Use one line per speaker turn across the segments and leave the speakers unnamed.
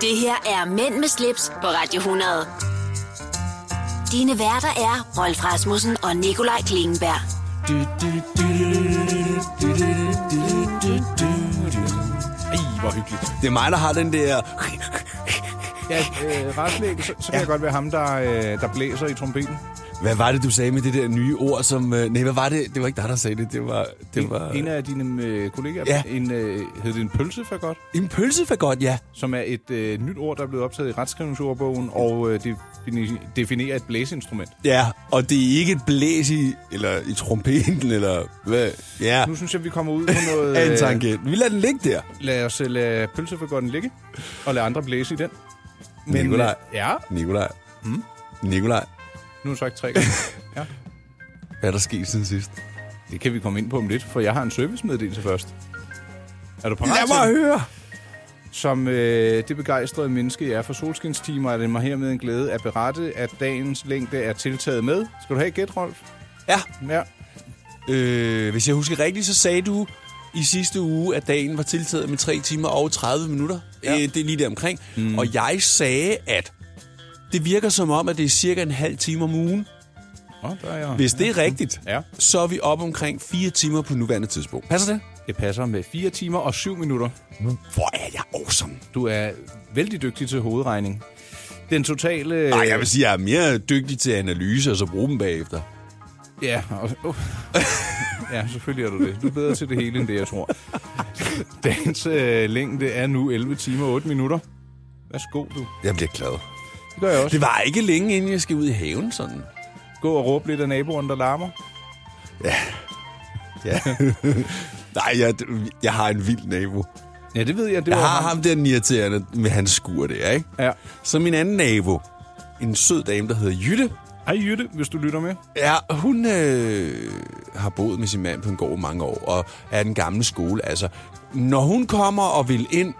Det her er Mænd med slips på Radio 100. Dine værter er Rolf Rasmussen og Nikolaj Klingenberg.
Ej, hvor hyggeligt.
Det er mig, der har den der...
Ja, øh, Raslæg, så, så kan ja. jeg godt være ham, der, øh, der blæser i trompeten.
Hvad var det, du sagde med det der nye ord, som... øh, Nej, hvad var det? Det var ikke dig, der sagde det. Det var... Det var
En, en af dine øh, kollegaer,
Ja.
ja. en, øh, hed det en pølse for godt,
en pølsefagot, ja.
som er et øh, nyt ord, der er blevet optaget i retskrivningsordbogen, og øh, defini- definerer et blæseinstrument.
Ja, og det er ikke et blæs i, eller i trompeten, eller hvad? Ja,
Nu synes jeg, vi kommer ud på noget...
af en
øh,
tangent. Vi lader den ligge der.
Lad os øh, lade pølseforgården ligge, og lade andre blæse i den. Men,
Nikolaj.
øh, Ja,
Nikolaj. Mm? Nikolaj,
nu er det sagt tre gange. Ja.
hvad er der sket siden sidst?
Det kan vi komme ind på om lidt, for jeg har en servicemeddelelse først. Er du parat
Lad
til den?
mig høre!
Som øh, det begejstrede menneske, jeg er for solskinstimer, er det mig hermed en glæde at berette, at dagens længde er tiltaget med. Skal du have et gæt, Rolf?
Ja,
Ja.
øh, hvis jeg husker rigtigt, så sagde du i sidste uge, at dagen var tiltaget med 3 timer og 30 minutter. Ja.
Ja.
Øh, det er lige der omkring. Mm. Og jeg sagde, at det virker som om, at det er cirka en halv time om ugen.
Nå, der er jeg.
Hvis det er rigtigt,
Ja.
så er vi oppe omkring 4 timer på nuværende tidspunkt. Passer det?
Det passer med 4 timer og 7 minutter.
Hvor er jeg awesome.
Du er vældig dygtig til hovedregning. Den totale...
Ej, jeg vil sige, jeg er mere dygtig til analyse, og så bruge dem bagefter.
Ja, og, uh. ja, selvfølgelig er du det. Du er bedre til det hele, end det, jeg tror. Dagens øh, længde er nu 11 timer og 8 minutter. Værsgo, du.
Jeg bliver glad.
Det gør jeg også.
Det var ikke længe, inden jeg skal ud i haven, sådan.
Gå og råbe lidt af naboen, der larmer.
Ja. Nej, jeg, jeg har en vild nabo.
Ja, det ved jeg. Det
Jeg
var
har ham der den irriterende med hans skur der, ikke?
Ja.
Så min anden nabo, en sød dame, der hedder Jytte,
Hej Jytte, hvis du lytter med.
Ja, hun øh, har boet med sin mand på en gård i mange år, og er den gamle skole. Altså, når hun kommer og vil ind,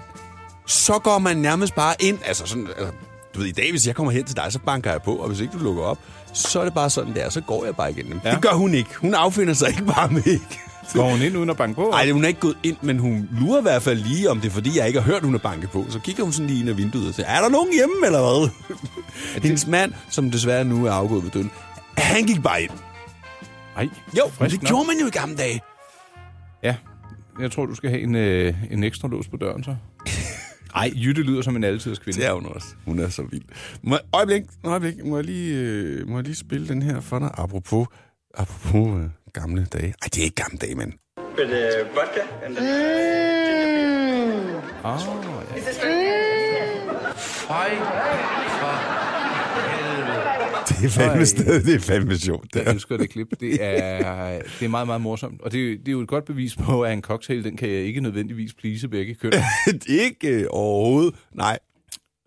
så går man nærmest bare ind. Altså, sådan, altså, du ved, i dag, hvis jeg kommer hen til dig, så banker jeg på, og hvis ikke du lukker op, så er det bare sådan der, så går jeg bare igennem. Ja.
Ja.
Det gør hun ikke. Hun affinder sig ikke bare med ikke.
Går hun ind uden at banke på?
Nej, hun er ikke gået ind, men hun lurer i hvert fald lige, om det er fordi, jeg ikke har hørt, hun er banket på. Så kigger hun sådan lige ind ad vinduet og siger, er der nogen hjemme eller hvad? Hendes mand, som desværre nu er afgået ved døden, han gik bare ind.
Nej.
Jo, men
Frisk
det
nok.
gjorde man jo i gamle dage.
Ja, jeg tror, du skal have en, øh, en ekstra lås på døren, så. Nej, Jytte lyder som en altidskvinde.
Det er hun også. Hun er så vild. Må, øjeblik, øjeblik. Må jeg, lige, øh, må jeg lige spille den her for dig? Apropos, apropos øh, gamle dage. Ej, det er ikke gamle dage, mand.
But uh, vodka and the
Ah, ja.
Det er fandme sted. Det er fandme sjovt. Det
Jeg
er.
elsker det klip. Det er, det er meget, meget morsomt. Og det, er jo- det er jo et godt bevis på, at en cocktail, den kan jeg ikke nødvendigvis plise begge køn.
Det er ikke øh, overhovedet. Nej.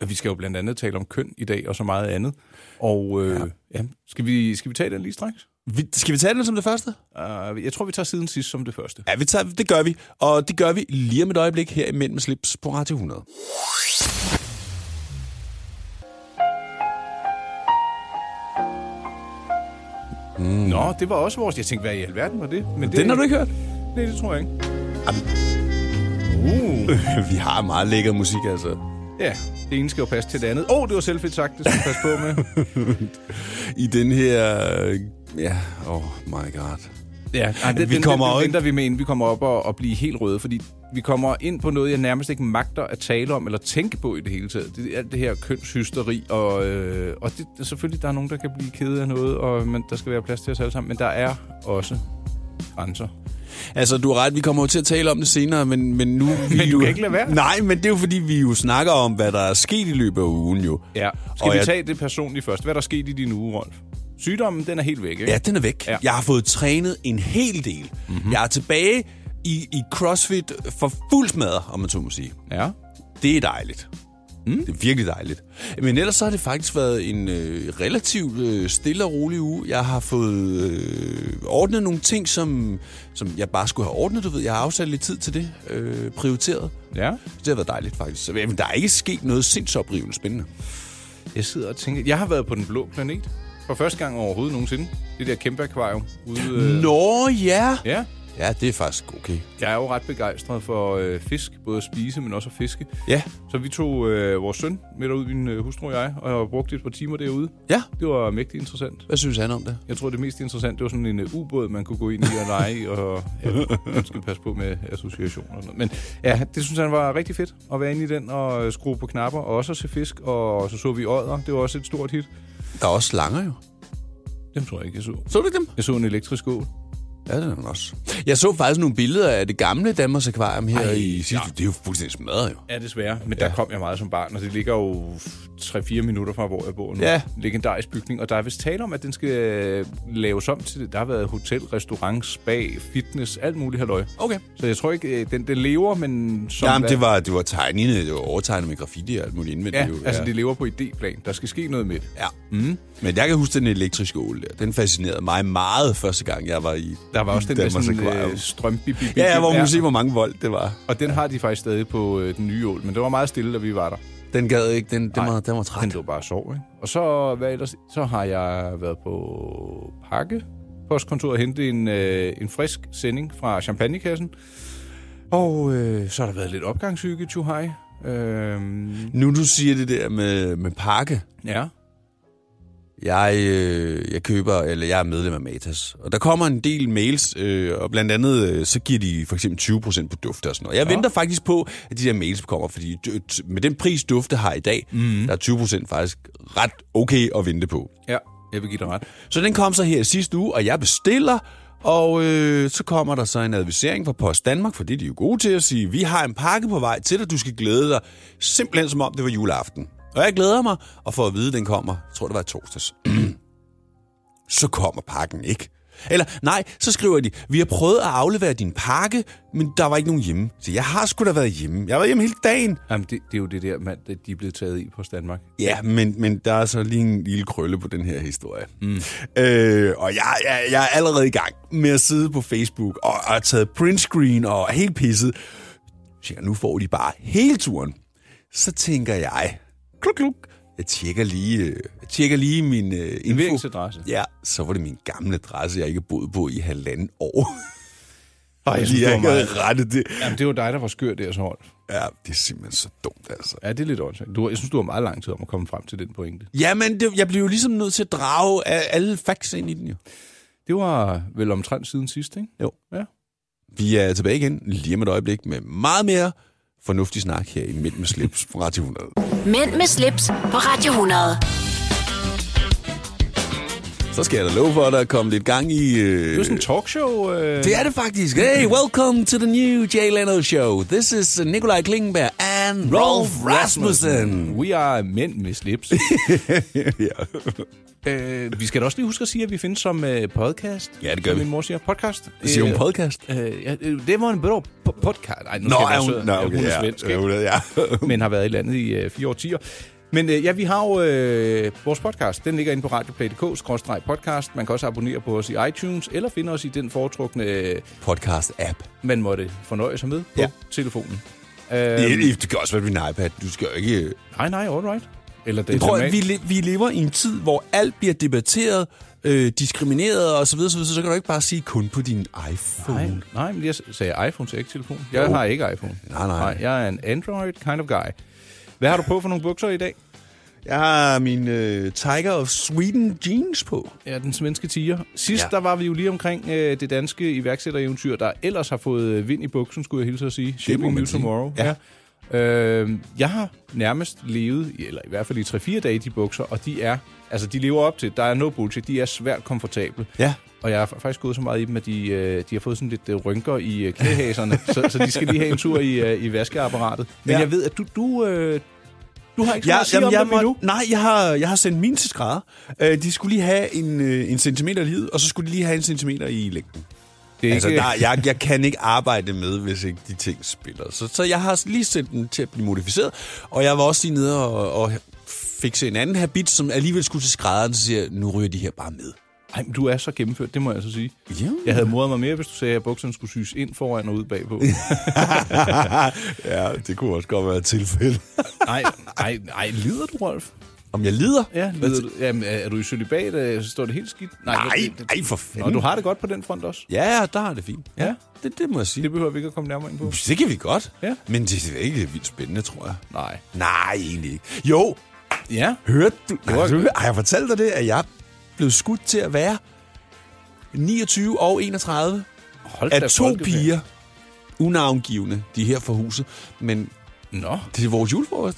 Vi skal jo blandt andet tale om køn i dag, og så meget andet. Og øh, ja. Ja, skal, vi, skal vi tage den lige straks?
Vi, skal vi tage den som det første?
Uh, jeg tror, vi tager siden sidst som det første.
Ja, vi tager, det gør vi. Og det gør vi lige om et øjeblik her i Mænd med slips på Radio 100.
Nå, det var også vores. Jeg tænkte, hvad i alverden var det? Men det
Den har du ikke hørt?
Nej, det tror jeg ikke.
vi har meget lækker musik, altså.
Ja, det ene skal jo passe til det andet. Åh, oh, det var selvfedt sagt, det skal vi passe på med.
I den her... øh, Ja, oh my god.
Ja, ej, det,
Vi
vi den,
kommer
kommer den,
jo
den,
ikke-
venter vi med, inden vi kommer op og, og bliver helt røde, fordi vi kommer ind på noget, jeg nærmest ikke magter at tale om eller tænke på i det hele taget. Det er alt det her kønshysteri, og, øh, og det, det, selvfølgelig, der er nogen, der kan blive kede af noget, og men, der skal være plads til os alle sammen, men der er også grænser.
Altså, du har ret, vi kommer jo til at tale om det senere, men, men nu... Men
du kan ikke lade være.
Nej, men det er jo fordi, vi jo snakker om, hvad der er sket i løbet af ugen jo.
Ja. Skal
Og
vi
jeg-
tage det personligt først? Hvad er der sket i din uge, Rolf? Sygdommen, den er helt væk, ikke?
Ja, den er væk. Ja.
Ja. Mhm.
Jeg har fået trænet en hel del. Mm-hmm. Jeg er tilbage i, i CrossFit for fuld smadre, om man så må sige.
ja.
Det er dejligt. Mm. Det er virkelig dejligt. Men ellers så har det faktisk været en øh, relativt øh, stille og rolig uge. Jeg har fået øh, ordnet nogle ting, som, som jeg bare skulle have ordnet, du ved. Jeg har afsat lidt tid til det, øh, prioriteret.
Ja.
Det har været dejligt, faktisk. Så, Jamen, der er ikke sket noget sindsoprivende spændende.
Jeg sidder og tænker, jeg har været på den blå planet for første gang overhovedet nogensinde. Det der kæmpe akvarium ude... øh,
Nå, ja.
Ja,
Ja, det er faktisk okay.
Jeg er jo ret begejstret for øh, fisk, både at spise, men også at fiske.
Ja.
Så vi tog øh, vores søn med derud, min øh, hustru og jeg, og jeg har brugt et par timer derude.
Ja.
Det var mægtig interessant.
Hvad synes han om det?
Jeg tror, det mest interessante, det var sådan en øh, ubåd, man kunne gå ind i og lege i, og ja, man skal passe på med associationer og sådan noget. Men ja, det synes han var rigtig fedt at være inde i den og øh, skrue på knapper, og også at se fisk, og så så vi ådder. Det var også et stort hit.
Der er også slanger jo.
Dem tror jeg ikke, jeg så.
Så du ikke dem?
Jeg så en elektrisk ål.
Ja, det er den også. Jeg så faktisk nogle billeder af det gamle Danmarks Akvarium her Ej, i sidste. Ja. Det er jo fuldstændig smadret jo.
Ja, desværre. Men ja. der kom jeg meget som barn, og det ligger jo 3-4 minutter fra, hvor jeg bor nu.
Ja.
Legendarisk bygning. Og der er vist tale om, at den skal øh, laves om til det. Der har været hotel, restaurant, spa, fitness, alt muligt halløj.
Okay.
Så jeg tror ikke, øh, den, den lever, men... Som
Jamen,
hvad-
det var, det var tegnende, det var overtegnet med graffiti og alt muligt indvendigt.
Ja,
jo.
altså det lever på idéplan. Der skal ske noget med det.
Ja. Mm. Men jeg kan huske den elektriske ål der. Den fascinerede mig meget første gang, jeg var i
Der var også den der
Danmarks
sådan,
Akvarium.
øh, strømbi
Ja, ja, hvor man kunne se, hvor mange volt det var.
Og den har de faktisk stadig på øh, den nye ål, men det var meget stille, da vi var der.
Den gad ikke, den, den, var, den var
Men
træt.
det var bare sov, ikke? Og så, hvad ellers, så har jeg været på pakke postkontoret og hentet en, øh, en frisk sending fra champagnekassen. Og øh, så har der været lidt opgangssyge i Chuhai. Øh,
Nu du siger det der med, med pakke.
ja.
Jeg, øh, jeg køber, eller jeg er medlem af Matas, og der kommer en del mails, øh, og blandt andet, øh, så giver de for eksempel 20% på dufte og sådan noget. Jeg ja. venter faktisk på, at de der mails kommer, fordi d- t- med den pris, dufte har i dag, mm. der er 20% faktisk ret okay at vente på.
Ja, jeg vil give dig ret.
Så den kom så her i sidste uge, og jeg bestiller, og øh, så kommer der så en advisering fra Post Danmark, fordi de er jo gode til at sige, vi har en pakke på vej til dig, du skal glæde dig, simpelthen som om det var juleaften. Og jeg glæder mig, og for at vide, den kommer, jeg tror det var i torsdags, så kommer pakken ikke. Eller nej, så skriver de, vi har prøvet at aflevere din pakke, men der var ikke nogen hjemme. Så jeg har sgu da været hjemme. Jeg var hjemme hele dagen.
Jamen, det, det er jo det der, mand, det- de er blevet taget i på Danmark.
Ja, men, men der er så lige en lille krølle på den her historie. Mm. Øh, og jeg, jeg, jeg er allerede i gang med at sidde på Facebook og, og har taget printscreen og er helt pisset. Så nu får de bare hele turen. Så tænker jeg, kluk, kluk, jeg tjekker lige, øh, jeg tjekker lige min øh, info.
Leveringsadresse.
Ja, så var det min gamle adresse, jeg ikke har boet på i halvanden år.
Ej,
Fordi jeg ikke havde rettet det.
Jamen, det var dig, der var skør der, så holdt.
Ja, det er simpelthen så dumt, altså.
Ja, det er lidt åndssvagt. Du, jeg synes, du har meget lang tid om at komme frem til den pointe.
Jamen, det, jeg blev jo ligesom nødt til at drage øh, alle facts ind i den jo.
Det var vel omtrent siden sidst, ikke?
Jo.
Ja.
Vi er tilbage igen lige om et øjeblik med meget mere fornuftig snak her i Midt med Slips på Radio 100.
Mænd med slips på Radio 100.
Så skal jeg da love for, at der er kommet lidt gang i... Øh...
Det var sådan en talkshow. Øh...
Det er det faktisk. Hey, welcome to the new Jay Leno show. This is uh, Nikolaj Klingenberg and Rolf Rasmussen.
We are mænd med slips. øh, vi skal da også lige huske at sige, at vi findes som øh, podcast.
Ja, det gør
som
vi.
Min mor siger podcast.
Siger hun
Øh,
podcast?
Øh, ja, øh, det var en bedre po- podcast. Ej, nu
Nå,
skal jeg
er
være
hun,
sød.
nå,
Ja,
okay,
hun Altså, er
ja. Øh.
svensk,
Ja,
ikke?
hun er- ja.
men har været i landet i øh, fire årtier. Men øh, ja, vi har jo øh, vores podcast. Den ligger inde på radioplay.dk-podcast. Man kan også abonnere på os i iTunes, eller finde os i den foretrukne, øh,
Podcast-app.
man måtte fornøje sig med på
Ja.
ja. telefonen.
Det, det kan også være din iPad. Du skal jo ikke... øh,
Nej, nej, all right. Eller det
Jeg tror, at vi, le- vi lever i en tid, hvor alt bliver debatteret, øh, diskrimineret og så videre, så, videre, så kan du ikke bare sige kun på din iPhone.
Nej, nej, men jeg sagde iPhone, så ikke telefon. Jeg
Jo.
har ikke iPhone.
Nej, nej.
Jeg er en Android kind of guy. Hvad har du på for nogle bukser i dag?
Jeg har min øh, Tiger of Sweden jeans på.
Ja, den svenske tiger. Sidst
Ja.
ja. der var vi jo lige omkring øh, det danske iværksættereventyr, der ellers har fået øh, vind i buksen, skulle jeg hilse at sige. Shaping
man
you
sige.
tomorrow.
Ja.
Ja. Øh, jeg har nærmest levet, i- eller i hvert fald i 3-4 dage, i de bukser, og de er, altså de lever op til, der er no bullshit, de er svært komfortable.
Ja.
Og jeg har fa- faktisk gået så meget i dem, at de, øh, de har fået sådan lidt øh, rynker i øh, knæhaserne, så, så de skal lige have en tur i, øh, i vaskeapparatet. Men
Ja.
ja. jeg ved, at du, du, øh, du har ikke så meget
Jeg,
at sige om
jeg
dem endnu.
nej, jeg har, jeg har sendt mine til skrædder. Øh, de skulle lige have en, øh, en centimeter i livet, og så skulle de lige have en centimeter i længden.
Det er
Altså,
ikke-
der, jeg, jeg kan ikke arbejde med, hvis ikke de ting spiller. Så, så jeg har lige sendt den til at blive modificeret, og jeg var også lige nede og, og fikse en anden habit, som alligevel skulle til skrædderen, så siger jeg, nu ryger de her bare med.
Ej, men du er så gennemført, det må jeg altså sige.
Ja.
Jeg havde modet mig mere, hvis du sagde, at bukserne skulle syes ind foran og ud bagpå.
ja, det kunne også godt være et tilfælde.
Nej, nej, nej, lider du, Rolf?
Om jeg lider?
Ja,
Hvad-
lider du, jamen, er er du i celibat? øh, Så står det helt skidt.
Nej,
det- det-
nej, for fanden.
Nå, du har det godt på den front også.
Ja, ja, der har det fint. Ja,
Ja.
det, det må jeg sige.
Det behøver vi ikke at komme nærmere ind på.
Det kan vi godt.
Ja.
Men det er ikke vildt spændende, tror jeg.
Nej.
Nej, egentlig ikke. Jo,
Ja.
hørte du?
var-
Har, du, har jeg fortalt dig det, at jeg blev skudt til at være 29 og 31
Hold da
af to
folkefærd.
piger, unavngivende, de er her for huset. Men
Nå.
det er vores julefrokost.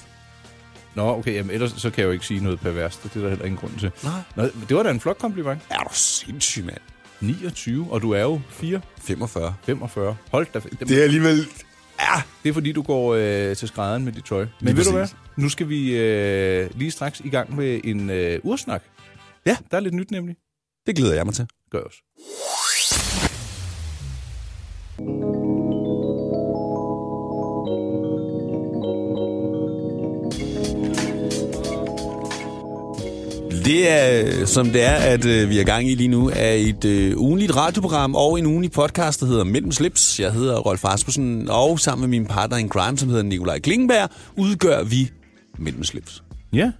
Nå, okay, jamen, ellers så kan jeg jo ikke sige noget perverst. Det er der heller ingen grund til.
Nej.
Nå, det var da en flot kompliment.
Er du sindssyg, mand?
29, og du er jo 4,
45.
45. Hold da. Det,
Det er alligevel... Ja,
det er fordi, du går øh, til skrædderen med dit tøj. Men
Lige
ved du hvad?
præcis.
Nu skal vi øh, lige straks i gang med en øh, ursnak.
Ja.
Der er lidt nyt nemlig.
det glæder jeg mig til.
Gør os.
Det er, øh, som det er, at øh, vi er gang i lige nu, er et øh, ugenligt radioprogram og en ugenlig podcast, der hedder Mellem Slips. Jeg hedder Rolf Asmussen, og sammen med min partner in crime, som hedder Nikolaj Klingberg, udgør vi Mellem Slips.
Ja.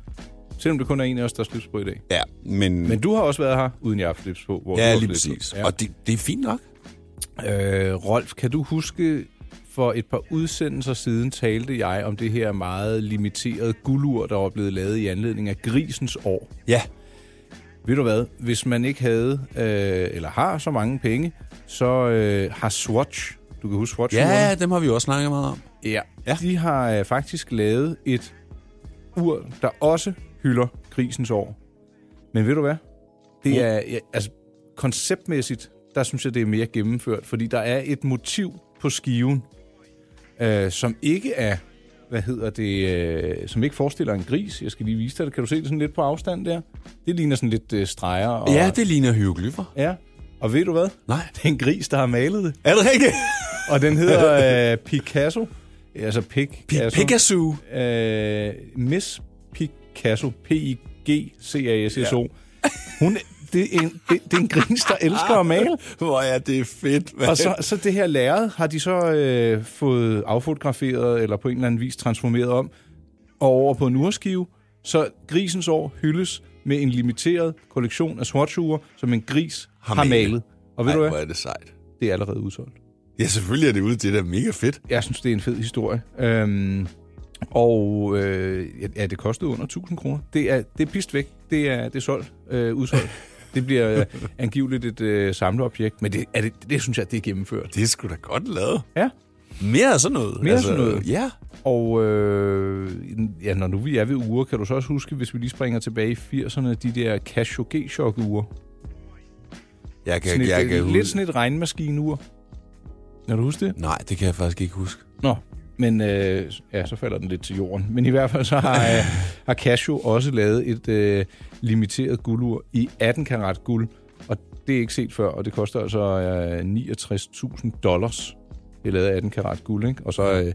Selvom det kun er en af os, der har slips på i dag.
Ja, men...
Men du har også været her, uden jeg har haft slips på. Hvor du
ja,
har
lige
slips på.
præcis. Og det, det er fint nok.
Øh, Rolf, kan du huske, for et par udsendelser siden talte jeg om det her meget limiterede guldur, der var blevet lavet i anledning af grisens år.
Ja.
Ved du hvad, hvis man ikke havde, øh, eller har så mange penge, så øh, har Swatch, du kan huske Swatch
Ja, dem har vi jo også snakket meget om.
ja,
Ja.
ja, de har øh, faktisk lavet et ur, der også hylder grisens år. Men ved du hvad? Det er, ja, altså, konceptmæssigt, der synes jeg, det er mere gennemført, fordi der er et motiv på skiven, øh, som ikke er, hvad hedder det, øh, som ikke forestiller en gris. Jeg skal lige vise dig det. Kan du se det sådan lidt på afstand der? Det ligner sådan lidt øh, streger. Og,
Ja, det ligner hieroglyffer.
ja. Og ved du hvad?
Nej.
Det er en gris, der har malet det.
Er det rigtigt?
Og den hedder øh, Picasso. Altså Pic.
Pi- Picasso.
Øh, Miss Picasso. P-I-G-C-A-S-S-O. Hun, det, er en, det, det er en gris, der elsker at male.
Hvor er det fedt, mand.
Og så, så det her lærred har de så øh, fået affotograferet, eller på en eller anden vis transformeret om, og over på en urskive. Så grisens år hyldes med en limiteret kollektion af swatchure, som en gris
Har
har, har
malet.
malet. Og ved
Ej,
du
hvor
hvad?
er det sejt.
Det er allerede udsolgt.
Ja, selvfølgelig er det ude. Det er da mega fedt.
jeg synes, det er en fed historie. Øhm, og øh, ja, ja, det kostede under 1000 kroner. Det er, det er pist væk. Det er, det er solgt. Øh, udsolgt. Det bliver øh, angiveligt et øh, samleobjekt, men det, er det, det synes jeg, det er gennemført.
Det er sgu da godt lavet.
Ja,
Mere af sådan noget. Altså,
Mere af sådan noget.
Ja.
og øh, ja, når nu vi er ved uger, kan du så også huske, hvis vi lige springer tilbage i 80'erne, de der Khashoggi-chok-uger.
Jeg kan,
Sådan
jeg
et,
kan
øh,
huske.
lidt sådan et regnmaskinur. Kan du huske det?
Nej, det kan jeg faktisk ikke huske.
Nå, men øh, ja, så falder den lidt til jorden. Men i hvert fald så har, øh, har Casio også lavet et øh, limiteret guldur i 18 karat guld, og det er ikke set før, og det koster altså øh, 69.000 dollars. Det er lavet af 18 karat guld, ikke? Og så, øh,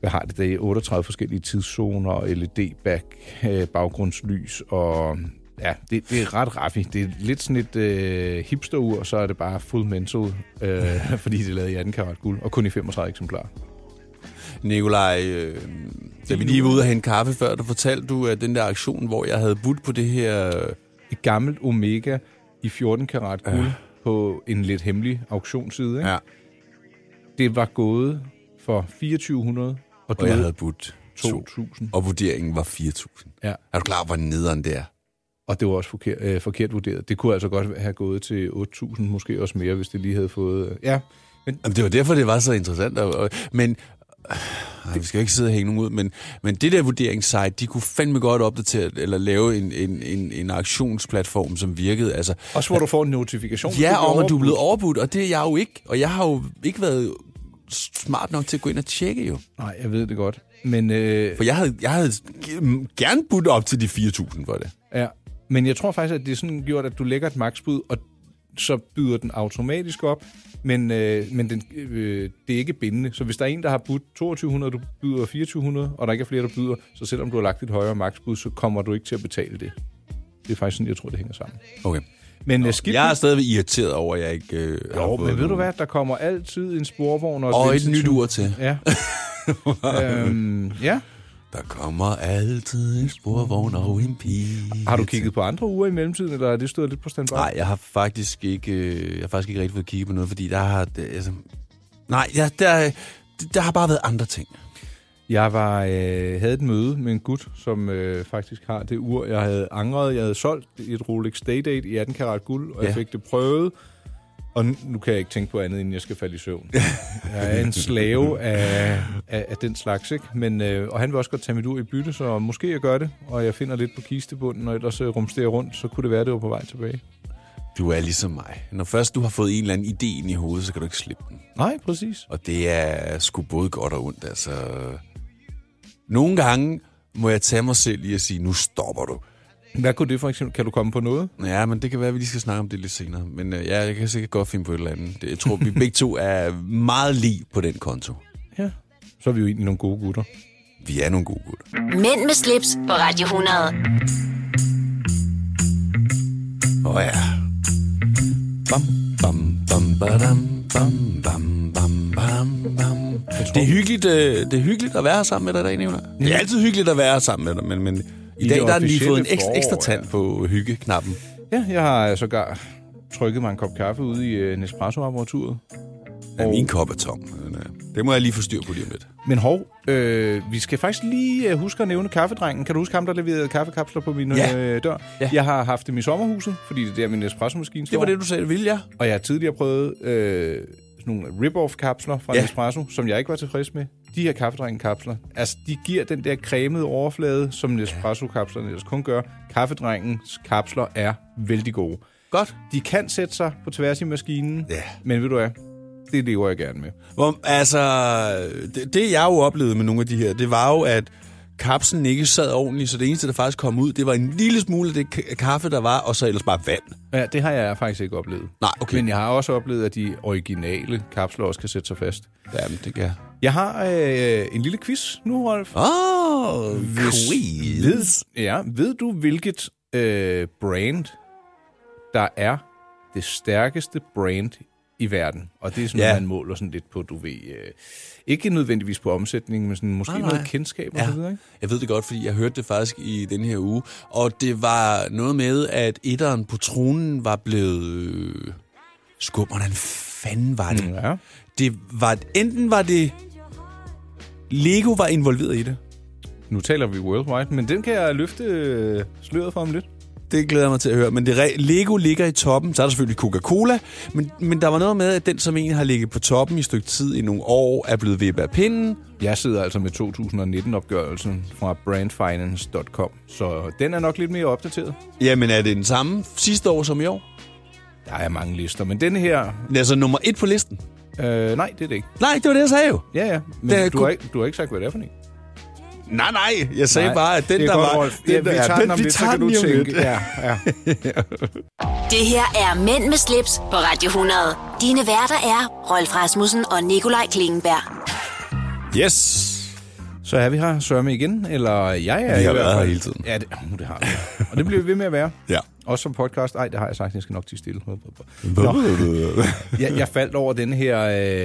hvad har det der, 38 forskellige tidszoner, og LED-back, øh, baggrundslys, og ja, det, det er ret raffi. Det er lidt sådan et øh, hipsterur, og så er det bare full mental, øh, fordi det er lavet i 18 karat guld, og kun i 35 eksemplarer.
Nikolaj, øh, da vi lige var ude og hente kaffe før, der fortalte du, at den der aktion, hvor jeg havde budt på det her... øh,
et gammelt Omega i 14 karat guld øh. på en lidt hemmelig auktionsside. Ikke?
Ja.
Det var gået for 2400 og du
Og jeg
havde
havde budt to.
2000.
Og vurderingen var 4.000.
Ja.
Er du klar, hvor nederen det er?
Og det var også forkert, øh, forkert vurderet. Det kunne altså godt have gået til 8000, måske også mere, hvis det lige havde fået... Øh, ja, men
Jamen, det var derfor, det var så interessant. Og, og, men øh, vi skal jo ikke sidde og hænge nogen ud, men, men det der vurderingssite, de kunne fandme godt opdatere eller lave en, en, en, en aktionsplatform, som virkede. Altså,
også hvor du får en notifikation. hvis
Ja,
bliver
og at du er
overbudt.
blevet overbudt, og det er jeg jo ikke. Og jeg har jo ikke været smart nok til at gå ind og tjekke jo.
Nej, jeg ved det godt. Men, øh,
For jeg havde, jeg havde g- gerne budt op til de 4.000 for det.
ja, men jeg tror faktisk, at det er sådan gjort, at du lægger et maksbud, og så byder den automatisk op, men, øh, men den, øh, det er ikke bindende. Så hvis der er en, der har budt 2200, du byder 2400, og der ikke er flere, der byder, så selvom du har lagt et højere maksbud, så kommer du ikke til at betale det. Det er faktisk sådan, jeg tror, det hænger sammen.
Okay.
Men Nå, skidt
Jeg er
jeg
stadigvæk irriteret over, at jeg ikke øh, har
jo,
fået
men ved
nogen.
du hvad, der kommer altid en sporvogn og,
Og et
vindselsvin.
nyt ur til.
Ja. øhm, ja.
Der kommer altid en sporvogn og en pige.
Har du kigget på andre uger i mellemtiden, eller er det stået lidt på standby?
Nej, jeg har faktisk ikke, øh, jeg har faktisk ikke rigtig fået kigget på noget, fordi der har... det- Altså, nej, jeg, der, der har bare været andre ting.
Jeg var, øh, havde et møde med en gut, som øh, faktisk har det ur, jeg havde angret. Jeg havde solgt et Rolex Day-Date i 18 karat guld, og ja.
Ja.
jeg fik det prøvet. Og nu- nu kan jeg ikke tænke på andet, end jeg skal falde i søvn. Jeg er en slave af, af, af den slags, ikke? Men, øh, og han vil også godt tage mit ur i bytte, så måske jeg gør det. Og jeg finder lidt på kistebunden, og ellers øh, rumsterer rundt, så kunne det være, det var på vej tilbage.
Du er ligesom mig. Når først du har fået en eller anden idé ind i hovedet, så kan du ikke slippe den.
Nej, præcis.
Og det er sgu både godt og ondt, altså. Nogle gange må jeg tage mig selv i at sige, nu stopper du.
Hvad kunne det for eksempel? Kan du komme på noget?
Ja, men det kan være, at vi lige skal snakke om det lidt senere. Men øh, ja, jeg kan sikkert godt finde på et eller andet. Det- Jeg tror, vi begge to er meget lige på den konto.
Ja. Så er vi jo egentlig nogle gode gutter.
Vi er nogle gode gutter.
Mænd med slips på Radio 100.
Åh oh, ja. Bam, bam, bam, badam, bam, bam, bam, bam, bam. Det er, hyggeligt, øh, det er hyggeligt at være her sammen med dig i dag, Nicolaj. Det er altid hyggeligt at være her sammen med dig, men, men i,
I
dag
det
der har den lige fået en
officielle
ekstra, ekstra
forår,
tand på hyggeknappen.
Ja, jeg har sågar trykket mig en kop kaffe ude i øh, Nespresso-apparaturet.
Ja, min kop er tom. men, øh, Det må jeg lige få styr på lige om lidt.
Men hov, øh, vi skal faktisk lige øh, huske at nævne kaffedrengen. Kan du huske ham, der leverede kaffekapsler på min
Ja.
øh, dør?
Ja.
Jeg har haft dem i sommerhuset, fordi det er der, min Nespresso-maskine står.
Det var det, du sagde, det ville, ja.
Og jeg har tidligere prøvet øh, sådan nogle rip-off-kapsler fra
Ja.
ja. Nespresso, som jeg ikke var tilfreds med. De her kaffedrengen-kapsler, altså de giver den der cremede overflade, som Nespresso-kapslerne ellers kun gør. Kaffedrengens kapsler er vældig gode.
Godt.
De kan sætte sig på tværs i maskinen,
Ja.
men ved du hvad, det lever jeg gerne med.
Hvor, altså, det, det jeg jo oplevede med nogle af de her, det var jo, at kapslen ikke sad ordentligt, så det eneste, der faktisk kom ud, det var en lille smule af det ka- kaffe, der var, og så ellers bare vand.
Ja, det har jeg faktisk ikke oplevet.
Nej, okay.
Men jeg har også oplevet, at de originale kapsler også kan sætte sig fast.
Jamen, det kan jeg.
Jeg har øh, en lille quiz nu, Rolf.
Åh, oh,
Hvis- Ved, ja, ved du, hvilket øh, brand, der er det stærkeste brand i verden? Og det er sådan,
Ja.
ja. man måler sådan lidt på, du ved... Øh, ikke nødvendigvis på omsætningen, men sådan, måske
Nej,
nej,
nej.
nej. noget kendskab og
Ja.
så videre, ikke?
Jeg ved det godt, fordi jeg hørte det faktisk i den her uge, og det var noget med, at etteren på tronen var blevet... øh, Skum, hvordan fanden var det?
Ja.
det var, enten var det... Lego var involveret i det.
Nu taler vi worldwide, men den kan jeg løfte øh, sløret for om lidt.
Det glæder jeg mig til at høre. Men det, re- Lego ligger i toppen. Så er der selvfølgelig Coca-Cola. Men, men der var noget med, at den, som egentlig har ligget på toppen i et stykke tid i nogle år, er blevet vippet af pinden.
Jeg sidder altså med 2019-opgørelsen fra brandfinance.com, så den er nok lidt mere opdateret.
Jamen, er det den samme sidste år som i år?
Der er mange lister, men denne her...
Altså nummer et på listen.
Øh, nej, det er det ikke.
Nej, det var det, jeg sagde jo.
Ja, ja, men
Det er
du,
kun-
har ikke, du har ikke sagt, hvad det er for en.
Nej, nej. Jeg sagde
Nej,
bare, at den,
det er
der
godt,
var...
Rolf. ja, vi
der-
tager den om
vi
lidt, så
tager
kan du
den lige om
tænke.
lidt.
Ja, ja.
Det her er Mænd med slips på Radio 100. Dine værter er Rolf Rasmussen og Nikolaj Klingenberg.
Yes.
Så er vi her, Sørme, igen. Eller jeg er
Vi har
i hvert
været
fald-
her hele tiden.
Ja, det, uh, det har vi. Og det bliver vi ved med at være.
Ja.
Også som podcast. Ej, det har jeg sagt, jeg skal nok til stille. Nå. jeg, jeg faldt over den her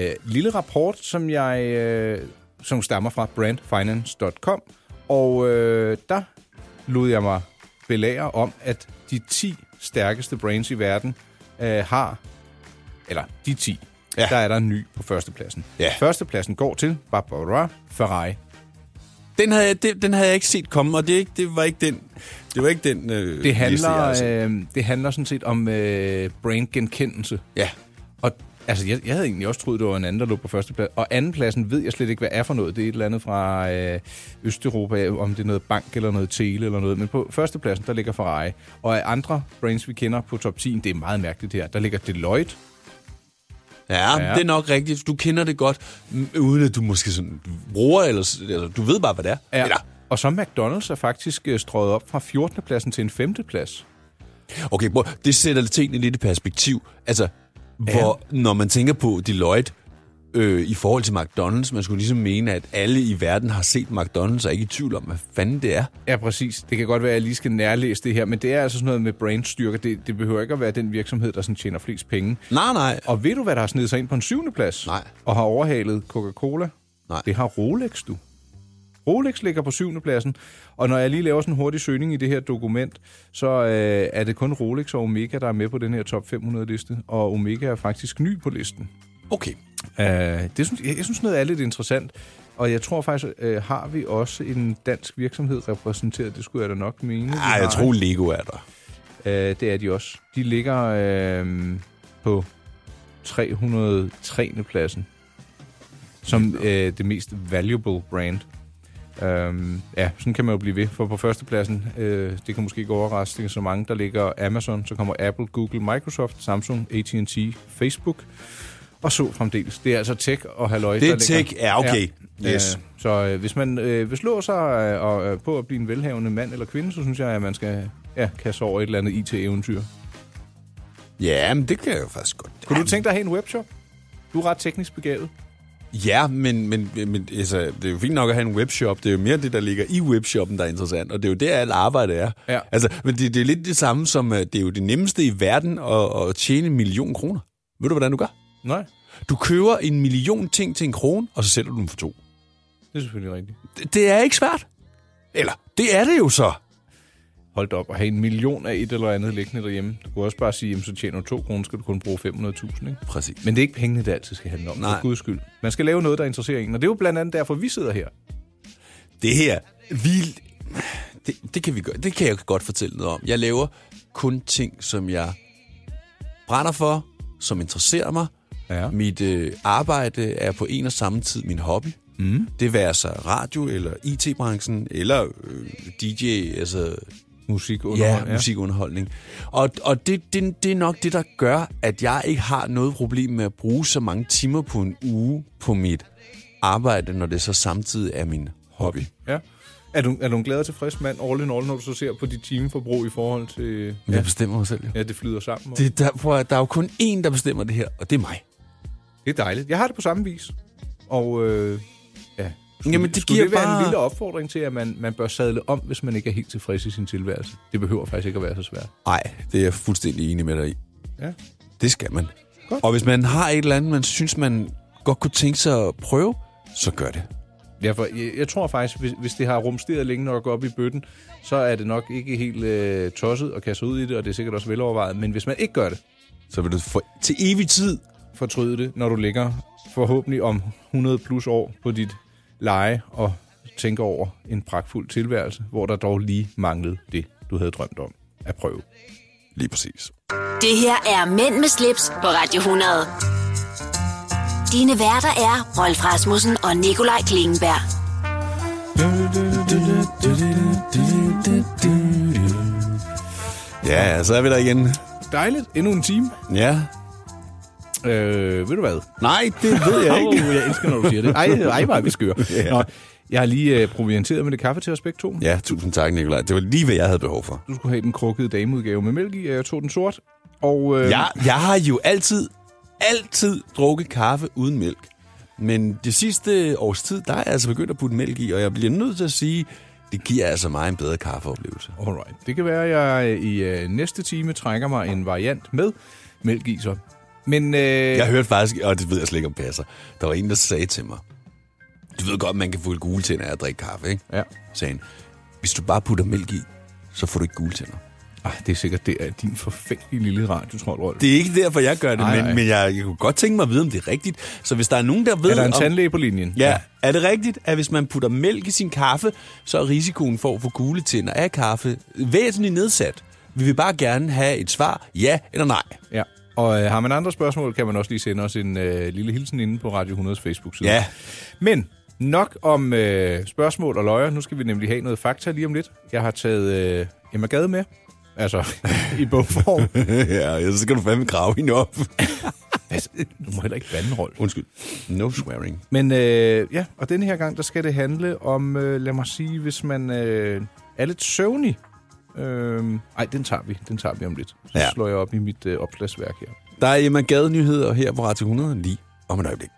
øh, lille rapport, som jeg øh, som stammer fra brandfinance.com, og øh, der lod jeg mig belære om, at de 10 stærkeste brands i verden øh, har, eller de 10,
Ja.
ja. der er der en ny på førstepladsen.
Ja.
Førstepladsen går til Barbara Ferrari.
Den havde, jeg, det, den havde jeg ikke set komme, og det, er ikke- det var ikke den... Det var ikke den øh,
Det
liste, jeg havde
handler,
set.
øh, det handler sådan set om øh, brandgenkendelse.
Ja.
Og altså, jeg, jeg havde egentlig også troet, det var en anden, der lå på førstepladsen. Og andenpladsen ved jeg slet ikke, hvad er for noget. Det er et eller andet fra øh, Østeuropa, om det er noget bank eller noget tele eller noget. Men på førstepladsen, der ligger Ferrari. Og af andre brands, vi kender på top 10, det er meget mærkeligt her. Der ligger Deloitte.
Ja, ja,
Ja.
det er nok rigtigt. Du kender det godt, m- uden at du måske sådan bruger, eller s- altså, du ved bare, hvad det er. Eller,
Og så McDonald's er faktisk øh, strøget op fra 14. pladsen til en 5. plads.
okay, prøv, det sætter tingene lidt i perspektiv. Altså, hvor, når man tænker på Deloitte, øh, i forhold til McDonald's, man skulle ligesom mene, at alle i verden har set McDonald's og er ikke i tvivl om, hvad fanden det er.
Ja, præcis. Det kan godt være, at jeg lige skal nærlæse det her, men det er altså sådan noget med brandstyrke. Det, det behøver ikke at være den virksomhed, der sådan tjener flest penge.
Nej, nej.
Og ved du, hvad der har snedet sig ind på en syvende plads?
Nej.
Og har overhalet Coca-Cola?
Nej.
Det har Rolex, du. Rolex ligger på syvende pladsen, og når jeg lige laver sådan en hurtig søgning i det her dokument, så øh, er det kun Rolex og Omega, der er med på den her top 500-liste, og Omega er faktisk ny på listen.
Okay.
Øh, det synes, jeg, jeg synes noget er lidt interessant, og jeg tror faktisk, øh, har vi også en dansk virksomhed repræsenteret, det skulle jeg da nok mene. vi
Ej,
har,
jeg tror, Lego er der.
Øh, det er de også. De ligger øh, på 303. pladsen, som øh, det mest valuable brand. Øhm, ja, sådan kan man jo blive ved, for på førstepladsen, øh, det kan måske ikke overraske det er så mange, der ligger Amazon, så kommer Apple, Google, Microsoft, Samsung, AT&T, Facebook, og så fremdeles. Det er altså tech og halløj,
Det er
der ligger-
tech. Ja, okay. Yes.
Øh, så øh, hvis man øh, vil slå sig øh, og, øh, på at blive en velhavende mand eller kvinde, så synes jeg, at man skal ja, kaste over et eller andet IT-eventyr.
Ja, men det kan jeg jo faktisk godt.
Kunne du tænke dig at have en webshop? Du er ret teknisk begavet.
Ja, men, men, men altså, det er jo fint nok at have en webshop. Det er jo mere det, der ligger i webshoppen, der er interessant. Og det er jo der, alt arbejde er.
Ja.
Altså, men det, det er lidt det samme som, øh, det er jo det nemmeste i verden at, at tjene en million kroner. Ved du, hvordan du gør?
Nej,
Du køber en million ting til en krone, og så sælger du dem for to.
det er selvfølgelig rigtigt.
Det, det er ikke svært. Eller, det er det jo så.
Hold da op, at have en million af et eller andet liggende derhjemme. Du kunne også bare sige, at så tjener du to kroner, skal du kun bruge 500.000, ikke?
Præcis.
Men det er ikke pengene, det altid skal handle om.
Nej.
For guds skyld. Man skal lave noget, der interesserer en. Og det er jo blandt andet derfor, vi sidder her.
Det her, vi, det, det, kan vi gøre. det kan jeg godt fortælle noget om. Jeg laver kun ting, som jeg brænder for, som interesserer mig.
Ja.
Mit øh, arbejde er på en og samme tid min hobby. Mm. Det være så radio, eller IT-branchen, eller øh, DJ, altså
Musik under
ja, musikunderholdning. Og, og det, det, det er nok det, der gør, at jeg ikke har noget problem med at bruge så mange timer på en uge på mit arbejde, når det så samtidig er min hobby.
Ja. Er du, er du en glad og tilfreds mand all in all, når du så ser på dit timeforbrug i forhold til...
Men jeg bestemmer mig selv, jo.
Ja, det flyder sammen. Og...
Det er der, prøv, at- der er jo kun én, der bestemmer det her, og det er mig.
Det er dejligt. Jeg har det på samme vis. Og øh, ja. Skulle,
Jamen, det
skulle
giver
det være
bare-
en lille opfordring til, at man, man bør sadle om, hvis man ikke er helt tilfreds i sin tilværelse? Det behøver faktisk ikke at være så svært.
Nej, det er jeg fuldstændig enig med dig i.
Ja.
Det skal man.
Godt.
Og hvis man har et eller andet, man synes, man godt kunne tænke sig at prøve, så gør det.
Derfor, jeg, jeg tror faktisk, hvis, hvis det har rumsteret længe nok op i bøtten, så er det nok ikke helt øh, tosset at kaste sig ud i det, og det er sikkert også velovervejet. Men hvis man ikke gør det,
Så vil du få til evig tid.
fortryde det, når du ligger forhåbentlig om 100 plus år på dit leje og tænker over en pragtfuld tilværelse, hvor der dog lige manglede det, du havde drømt om at prøve.
Lige præcis.
Det her er Mænd med slips på Radio 100. Dine værter er Rolf Rasmussen og Nikolaj Klingenberg.
Ja, så er vi der igen.
Dejligt. Endnu en time.
Ja.
Øh, ved du hvad?
Nej, det ved jeg ikke.
Oh, jeg elsker, når du siger det. Ej, ej, hvor er vi skøre.
Ja.
Nå, jeg har lige øh, provianteret med det kaffe til os begge to.
Ja, tusind tak, Nikolaj. Det var lige, hvad jeg havde behov for.
Du skulle have den krukkede dameudgave med mælk i, og jeg tog den sort. Og øh,
Jeg, jeg har jo altid, altid drukket kaffe uden mælk. Men det sidste års tid, der er jeg altså begyndt at putte mælk i, og jeg bliver nødt til at sige, det giver altså mig en bedre kaffeoplevelse.
Alright. Det kan være, at jeg i øh, næste time trækker mig en variant med mælk i så. Men øh,
Jeg hørte faktisk, og det ved jeg slet ikke om passer, der var en, der sagde til mig, du ved godt, man kan få gule tænder af at drikke kaffe, ikke?
Ja.
Sagde han, hvis du bare putter mælk i, så får du ikke gule tænder.
Ah, det er sikkert det er din forfængelige lille radiotrol, Rolf. Det,
Det er ikke derfor, jeg gør det,
Nej, nej.
men, men jeg, jeg kunne godt tænke mig at vide, om det er rigtigt. Så hvis der er nogen, der ved...
er der en
om,
tandlæge på linjen?
Ja, er det rigtigt, at hvis man putter mælk i sin kaffe, så er risikoen for at få gule tænder af kaffe væsentligt nedsat? Vi vil bare gerne have et svar, ja eller nej.
ja. Og øh, har man andre spørgsmål, kan man også lige sende os en øh, lille hilsen inde på Radio 100's Facebook-side.
Ja.
Men nok om øh, spørgsmål og løjer. Nu skal vi nemlig have noget fakta lige om lidt. Jeg har taget øh, Emma Gade med. Altså, i bogform.
ja, så skal du fandme grave hende op.
altså, du må heller ikke bande, Rolf.
Undskyld. No swearing.
Men øh, ja, og denne her gang, der skal det handle om, øh, lad mig sige, hvis man øh, er lidt søvnig. Øh, ej, den tager vi. Den tager vi om lidt. Så
Ja.
ja. slår jeg op i mit øh, opslagsværk her.
Der er Emma Gade nyheder her på Radio 100 lige om et øjeblik.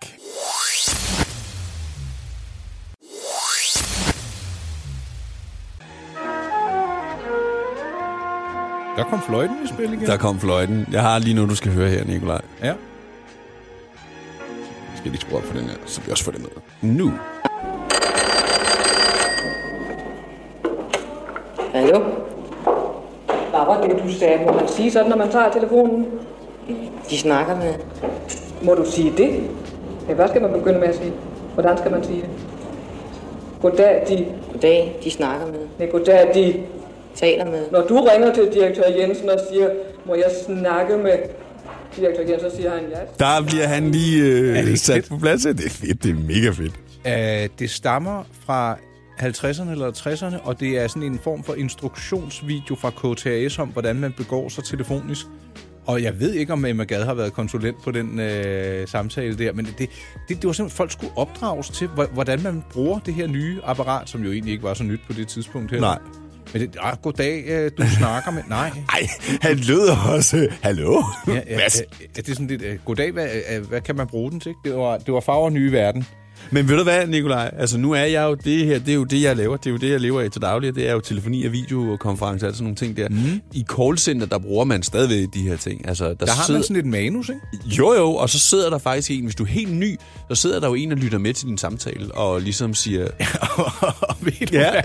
Der kom fløjten i spil igen.
Der kom fløjten. Jeg har lige noget, du skal høre her, Nikolaj.
Ja.
Jeg skal lige skrue op for den her, så vi også får det med. Nu.
Hallo? Barbara, det du sagde, må man sige sådan, når man tager telefonen?
De snakker med.
Må du sige det? Ja, hvad skal man begynde med at sige? Hvordan skal man sige det? Goddag, de...
Goddag, de snakker med.
Nej, goddag, de...
Taler med.
Når du ringer til direktør Jensen og siger, må jeg snakke med direktør Jensen, så siger han ja.
Der bliver han lige øh,
ikke
sat
fedt?
på plads. Det er fedt, det er mega fedt.
Øh, det stammer fra 50'erne eller 60'erne, og det er sådan en form for instruktionsvideo fra KTAS om, hvordan man begår sig telefonisk. Og jeg ved ikke, om Emma Gad har været konsulent på den øh, samtale der, men det, det, det var simpelthen, folk skulle opdrages til, hvor- hvordan man bruger det her nye apparat, som jo egentlig ikke var så nyt på det tidspunkt her.
Nej.
Men det, ah, goddag, øh, du snakker med... Nej.
Ej, han lød også... øh, Hallo?
Ja, ja, ja,
Mads.
ja, det er sådan lidt, øh, goddag, hvad, øh, hvad kan man bruge den til? Det var, det var farver nye verden.
Men ved du hvad, Nikolaj? Altså, nu er jeg jo det her, det er jo det, jeg laver. Det er jo det, jeg lever af til daglig. Det er jo telefoni og videokonferencer og sådan nogle ting der. Mm. I callcenter, der bruger man stadigvæk de her ting. Altså, der,
Der har
sidder...
man sådan et manus, ikke?
Jo, jo, og så sidder der faktisk en, hvis du er helt ny, så sidder der jo en og lytter med til din samtale, og ligesom siger,
Ved du
Ja.
hvad?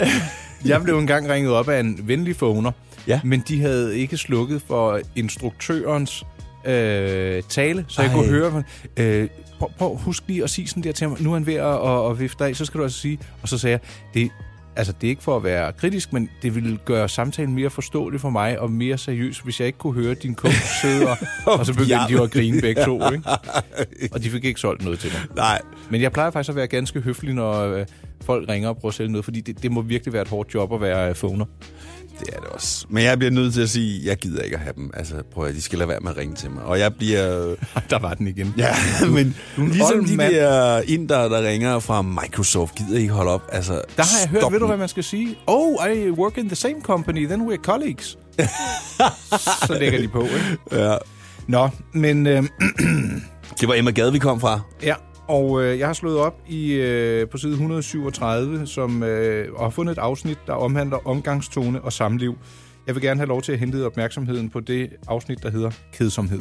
Jeg blev engang ringet op af en venlig phoner,
Ja.
men de havde ikke slukket for instruktørens øh, tale, så jeg
Ej.
kunne høre, øh, prøv, prøv husk lige at sige sådan der til ham, nu er han ved at, at, at vifte af, så skal du altså sige, og så sagde jeg, det, altså det er ikke for at være kritisk, men det ville gøre samtalen mere forståelig for mig, og mere seriøs, hvis jeg ikke kunne høre din coach sidde og, og så begyndte de jo at grine begge to, ikke? og de fik ikke solgt noget til mig.
nej,
Men jeg plejer faktisk at være ganske høflig, når øh, folk ringer og prøver at sælge noget, fordi det, det må virkelig være et hårdt job at være øh, phoner.
det er det også. Men jeg bliver nødt til at sige, jeg gider ikke at have dem. Altså, prøv at de skal lade være med at ringe til mig. Og jeg bliver...
Der var den igen.
Ja, men
du er en
ligesom
old
de
mand.
der indere, der ringer fra Microsoft, gider ikke holde op. Altså,
Der har jeg hørt,
stop
ved du
nu.
hvad man skal sige? Oh, I work in the same company, then we're colleagues. Så lægger de på, ikke?
Ja.
Nå, men øh,
Det var Emma Gade, vi kom fra.
ja, og øh, jeg har slået op i øh, på side 137, som øh, og har fundet et afsnit, der omhandler omgangstone og samliv. Jeg vil gerne have lov til at henlede opmærksomheden på det afsnit, der hedder Kedsomhed.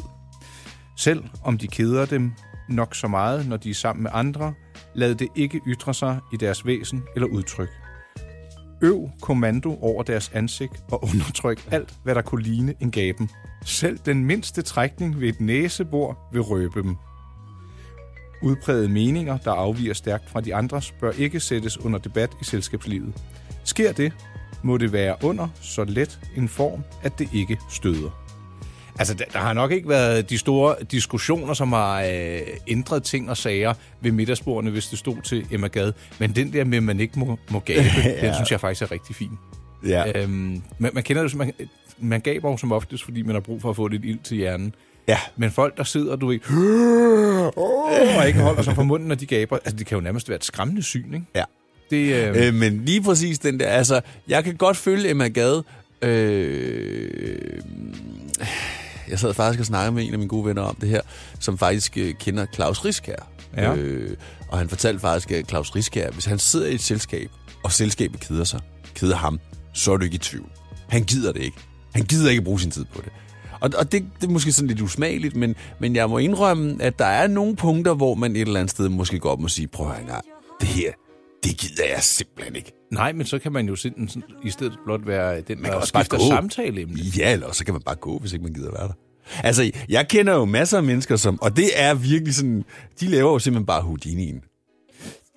Selv om de keder dem nok så meget, når de er sammen med andre, lad det ikke ytre sig i deres væsen eller udtryk. Øv kommando over deres ansigt og undertryk alt, hvad der kunne ligne en gaben. Selv den mindste trækning ved et næsebor vil røbe dem. Udprægede meninger, der afviger stærkt fra de andres, bør ikke sættes under debat i selskabslivet. Sker det, må det være under så let en form, at det ikke støder. Altså, der, der har nok ikke været de store diskussioner, som har øh, ændret ting og sager ved middagsbordene, hvis det stod til Emma Gad. Men den der med, at man ikke må, må gabe, ja. den synes jeg faktisk er rigtig fin.
Ja.
Øhm, man, man kender det, som- man, man gaber jo som oftest, fordi man har brug for at få lidt ild til hjernen.
Ja.
Men folk, der sidder, du ved, og ikke holder sig for munden, når de gaber, altså det kan jo nærmest være et skræmmende syn, ikke?
ja.
Det, øh,
Øh, men lige præcis den der, altså, jeg kan godt følge Emma Gade. Øh, jeg sad faktisk og snakkede med en af mine gode venner om det her, som faktisk øh, kender Claus Riskær.
Ja.
Øh, og han fortalte faktisk, at Claus Riskær, hvis han sidder i et selskab, og selskabet keder sig, keder ham, så er du ikke i tvivl. Han gider det ikke. Han gider ikke bruge sin tid på det. Og, og det, det er måske sådan lidt usmageligt, men, men jeg må indrømme, at der er nogle punkter, hvor man et eller andet sted måske godt må sige, prøv at høre, en gang, det her, det gider jeg simpelthen ikke.
nej, men så kan man jo sådan, sådan, i stedet blot være den,
kan
der
også bare
skifter
gå.
samtaleemne.
Ja, eller også, så kan man bare gå, hvis ikke man gider være der. Altså, jeg kender jo masser af mennesker, som, og det er virkelig sådan, de laver jo simpelthen bare Houdini'en.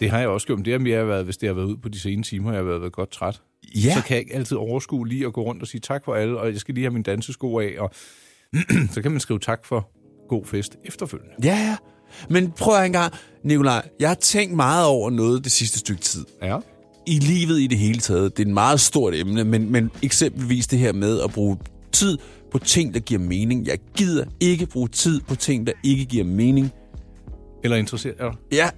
Det har jeg også gjort, men det har mere været, hvis det har været ud på de sene timer, jeg har været, været godt træt.
Ja.
Så kan jeg ikke altid overskue lige at gå rundt og sige tak for alle, og jeg skal lige have mine dansesko af, og så kan man skrive tak for god fest efterfølgende.
Ja, ja. Men prøv at høre en gang, Nikolaj, jeg har tænkt meget over noget det sidste stykke tid.
Ja.
I livet i det hele taget, det er et meget stort emne, men, men eksempelvis det her med at bruge tid på ting, der giver mening. Jeg gider ikke bruge tid på ting, der ikke giver mening.
Eller interesseret er du?
Ja,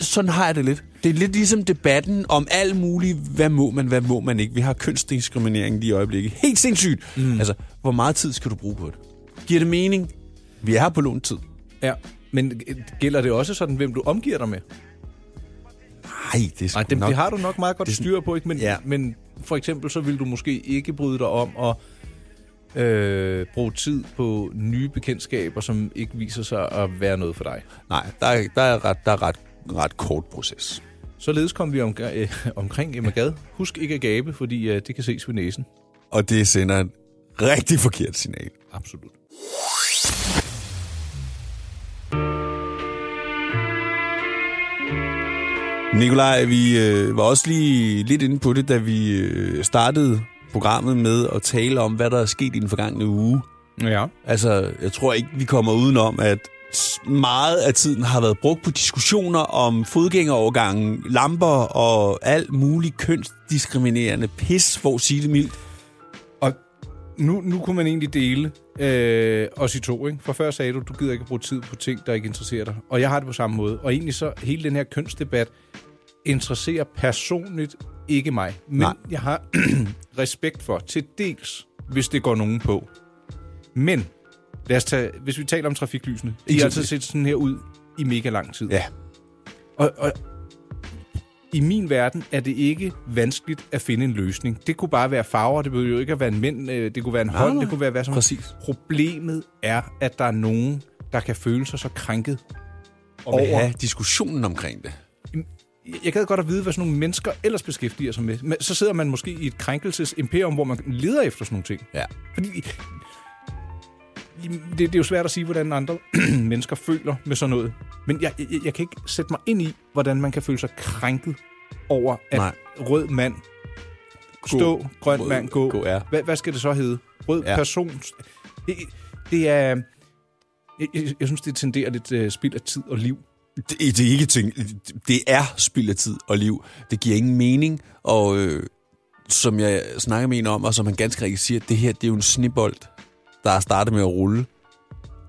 sådan har jeg det lidt. Det er lidt ligesom debatten om alt muligt, hvad må man, hvad må man ikke. Vi har kønsdiskriminering lige i øjeblikket. Helt sindssygt. Mm. Altså, hvor meget tid skal du bruge på det? Giver det mening? Vi er her på lånt tid.
Ja. Men gælder det også sådan, hvem du omgiver dig med?
Nej, det er sgu
Nej, dem,
nok...
det har du nok meget godt
det er sådan-
styr på, ikke? Men,
Ja.
ja. men for eksempel, så vil du måske ikke bryde dig om at øh, bruge tid på nye bekendtskaber, som ikke viser sig at være noget for dig.
Nej, der er, der er, ret, der er ret, ret kort proces.
Således kom vi omga- øh, omkring Emma Gad. Husk ikke at gabe, fordi øh, det kan ses ved næsen.
Og det sender et rigtig forkert signal.
Absolut.
Nikolaj, vi øh, var også lige lidt inde på det, da vi øh, startede programmet med at tale om, hvad der er sket i den forgangne uge.
Ja.
Altså, jeg tror ikke, vi kommer udenom, at s- meget af tiden har været brugt på diskussioner om fodgængerovergangen, lamper og alt muligt kønsdiskriminerende pis, for at sige det mildt.
Og nu, nu kunne man egentlig dele øh, os i to, ikke? For før sagde du, du gider ikke bruge tid på ting, der ikke interesserer dig. Og jeg har det på samme måde. Og egentlig så, hele den her kønsdebat interesserer personligt ikke mig. Men
Nej.
jeg har respekt for, til dels, hvis det går nogen på. Men, lad os tage, hvis vi taler om trafiklysene, de har altid set sådan her ud i mega lang tid.
Ja.
Og, og i min verden er det ikke vanskeligt at finde en løsning. Det kunne bare være farver, det behøver jo ikke at være en mænd, øh, det kunne være en hånd,
nej.
det kunne være hvad som
Præcis.
Problemet er, at der er nogen, der kan føle sig så krænket
Og have diskussionen omkring det.
jeg gad godt at vide, hvad sådan nogle mennesker ellers beskæftiger sig med. Men så sidder man måske i et krænkelsesimperium, hvor man leder efter sådan nogle ting.
Ja.
Fordi Jamen, det, det er jo svært at sige, hvordan andre mennesker føler med sådan noget. Men jeg, jeg, jeg kan ikke sætte mig ind i, hvordan man kan føle sig krænket over, at
Nej.
Nej. rød mand stå, grøn
Rød-
mand gå.
gå, ja.
hvad, hvad skal det så hedde? Rød
Ja.
ja. person. Det, det er... Jeg, jeg, jeg synes, det tenderer lidt uh, spild af tid og liv.
Det, det er ikke ting. Det er spild af tid og liv. Det giver ingen mening, og øh, som jeg snakker med en om, og som han ganske rigtigt siger, det her det er jo en snibbold, der er startet med at rulle,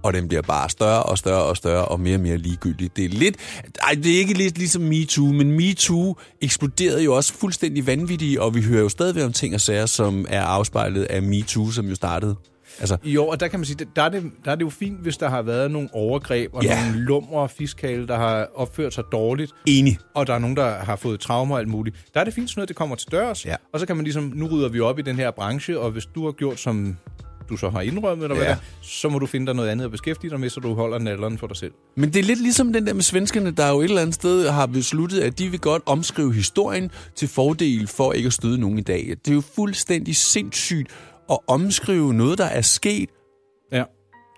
og den bliver bare større og større og større, og mere og mere ligegyldig. Det er lidt... Ej, det er ikke lidt ligesom MeToo, men MeToo eksploderede jo også fuldstændig vanvittigt, og vi hører jo stadigvæk om ting og sager, som er afspejlet af MeToo, som jo startede. Altså,
Jo, og der kan man sige, der er det, der er det jo fint, hvis der har været nogle overgreb og
Ja.
yeah. nogle lumre og fiskale, der har opført sig dårligt,
enig.
og der er nogen, der har fået traumer og alt muligt. Der er det fint sådan noget, det kommer til dørs,
Ja.
og så kan man ligesom, nu rydder vi op i den her branche, og hvis du har gjort, som du så har indrømmet, eller ja.
Ja.
hvad, det er, så må du finde dig noget andet at beskæftige dig med, så du holder nalderen for dig selv.
Men det er lidt ligesom den der med svenskerne, der jo et eller andet sted har besluttet, at de vil godt omskrive historien til fordel for ikke at støde nogen i dag. Det er jo fuldstændig sindssygt at omskrive noget, der er sket.
Ja.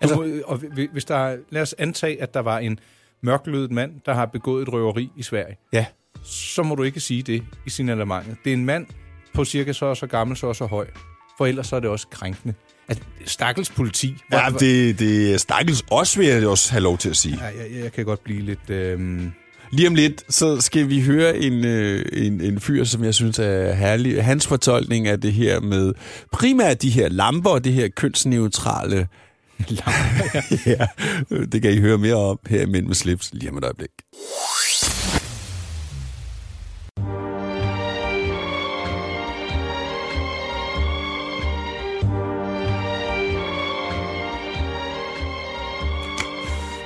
Altså-
Altså, må, og hvi- hvis der, er- lad os antage, at der var en mørklødet mand, der har begået et røveri i Sverige.
Ja.
så må du ikke sige det i signalementet. Det er en mand på cirka så og så gammel, så og så høj. For ellers så er det også krænkende. At stakkels politi. hvor-
Ja, det, det er stakkels også, vil jeg også have lov til at sige.
Ja, jeg, jeg kan godt blive lidt... Øh...
Lige om lidt, så skal vi høre en, øh, en, en fyr, som jeg synes er herlig. Hans fortolkning af det her med primært de her lamper og det her kønsneutrale. Lamper, ja. ja. Det kan I høre mere om her i Mænd med slips lige om et øjeblik.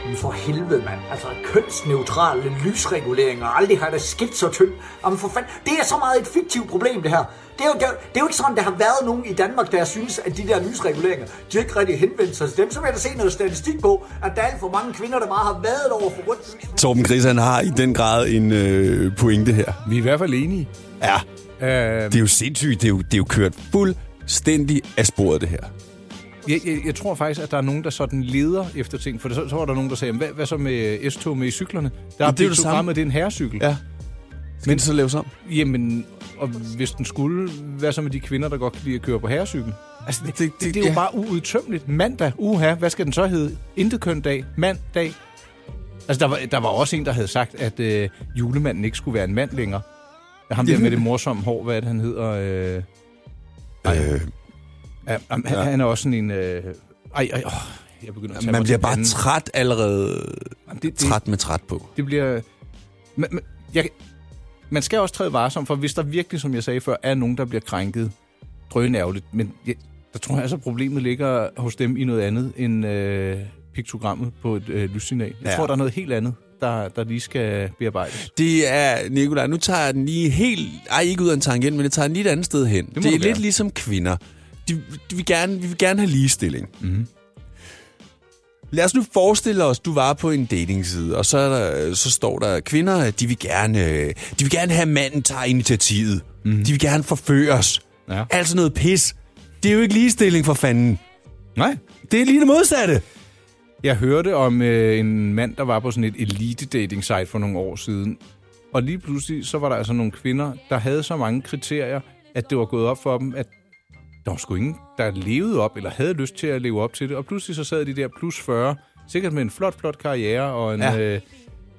Men for helvede, mand. Altså, kønsneutrale lysreguleringer. Aldrig har det skilt så tyndt. Jamen for fanden, det er så meget et fiktivt problem, det her. Det er, jo, det, er, jo- det er jo ikke sådan, der har været nogen i Danmark, der synes, at de der lysreguleringer, de har ikke rigtig henvendt sig til dem. Så vil jeg da se noget statistik på, at der er alt for mange kvinder, der bare har været over for rundt.
Torben Gris, han har i den grad en øh, pointe her.
Vi er i hvert fald enige.
Ja,
Øh,
det er jo sindssygt. Det er jo, det er jo kørt fuldstændig af sporet, det her.
Jeg, jeg, jeg tror faktisk, at der er nogen, der sådan leder efter ting. For så, så var der nogen, der sagde, hvad, hvad så med S-tog med i cyklerne? Der er
det er jo
blevet
det
så
samme.
frem, at det er en herrecykel.
Ja. Men så laves om.
Jamen, og hvis den skulle, hvad så med de kvinder, der godt kan lide at køre på herrecykel? Altså, det,
Det-
det,
det-
det, det er jo
ja.
bare uudtømmeligt. Mandag, uha, hvad skal den så hedde? Intet dag, mandag. Altså, der var, der var også en, der havde sagt, at øh, julemanden ikke skulle være en mand længere. Ham der med det morsomme hår, hvad er det, han hedder? Øh,
Øh,
ja, han, ja. han er også sådan en... Øh, ej, ej, åh, jeg begynder at tage
man
mig
bliver
til
bare
panden.
træt allerede.
Jamen, det, det,
Træt med træt på.
Det bliver... Man, man, jeg, man skal også træde varsom, for hvis der virkelig, som jeg sagde før, er nogen, der bliver krænket, drønærveligt, men jeg, der tror jeg altså, problemet ligger hos dem i noget andet end øh, piktogrammet på et øh, lyssignal. Jeg
Ja.
ja. tror, der er noget helt andet, der, der lige skal bearbejdes.
Det er, Nicolaj, nu tager jeg den lige helt... Ej, ikke ud af en tangent, men jeg tager den lige et andet sted hen. Det,
må
det er
du gerne.
lidt
Mhm.
ligesom kvinder. De, de vil gerne, vi vil gerne have ligestilling. Mm-hmm. Lad os nu forestille os, du var på en datingside, og så, er der, så står der, kvinder, de vil gerne, øh, de vil gerne have, at manden tager initiativet.
Mhm.
Mm. De vil gerne forføre os.
Ja.
Altså noget pis. Det er jo ikke ligestilling for fanden.
Nej.
Det er lige det modsatte.
Jeg hørte om øh, en mand, der var på sådan et elite dating site for nogle år siden. Og lige pludselig, så var der altså nogle kvinder, der havde så mange kriterier, at det var gået op for dem, at der var sgu ingen, der levede op, eller havde lyst til at leve op til det. Og pludselig så sad de der plus 40, sikkert med en flot, flot karriere og en
Ja.
ja. øh,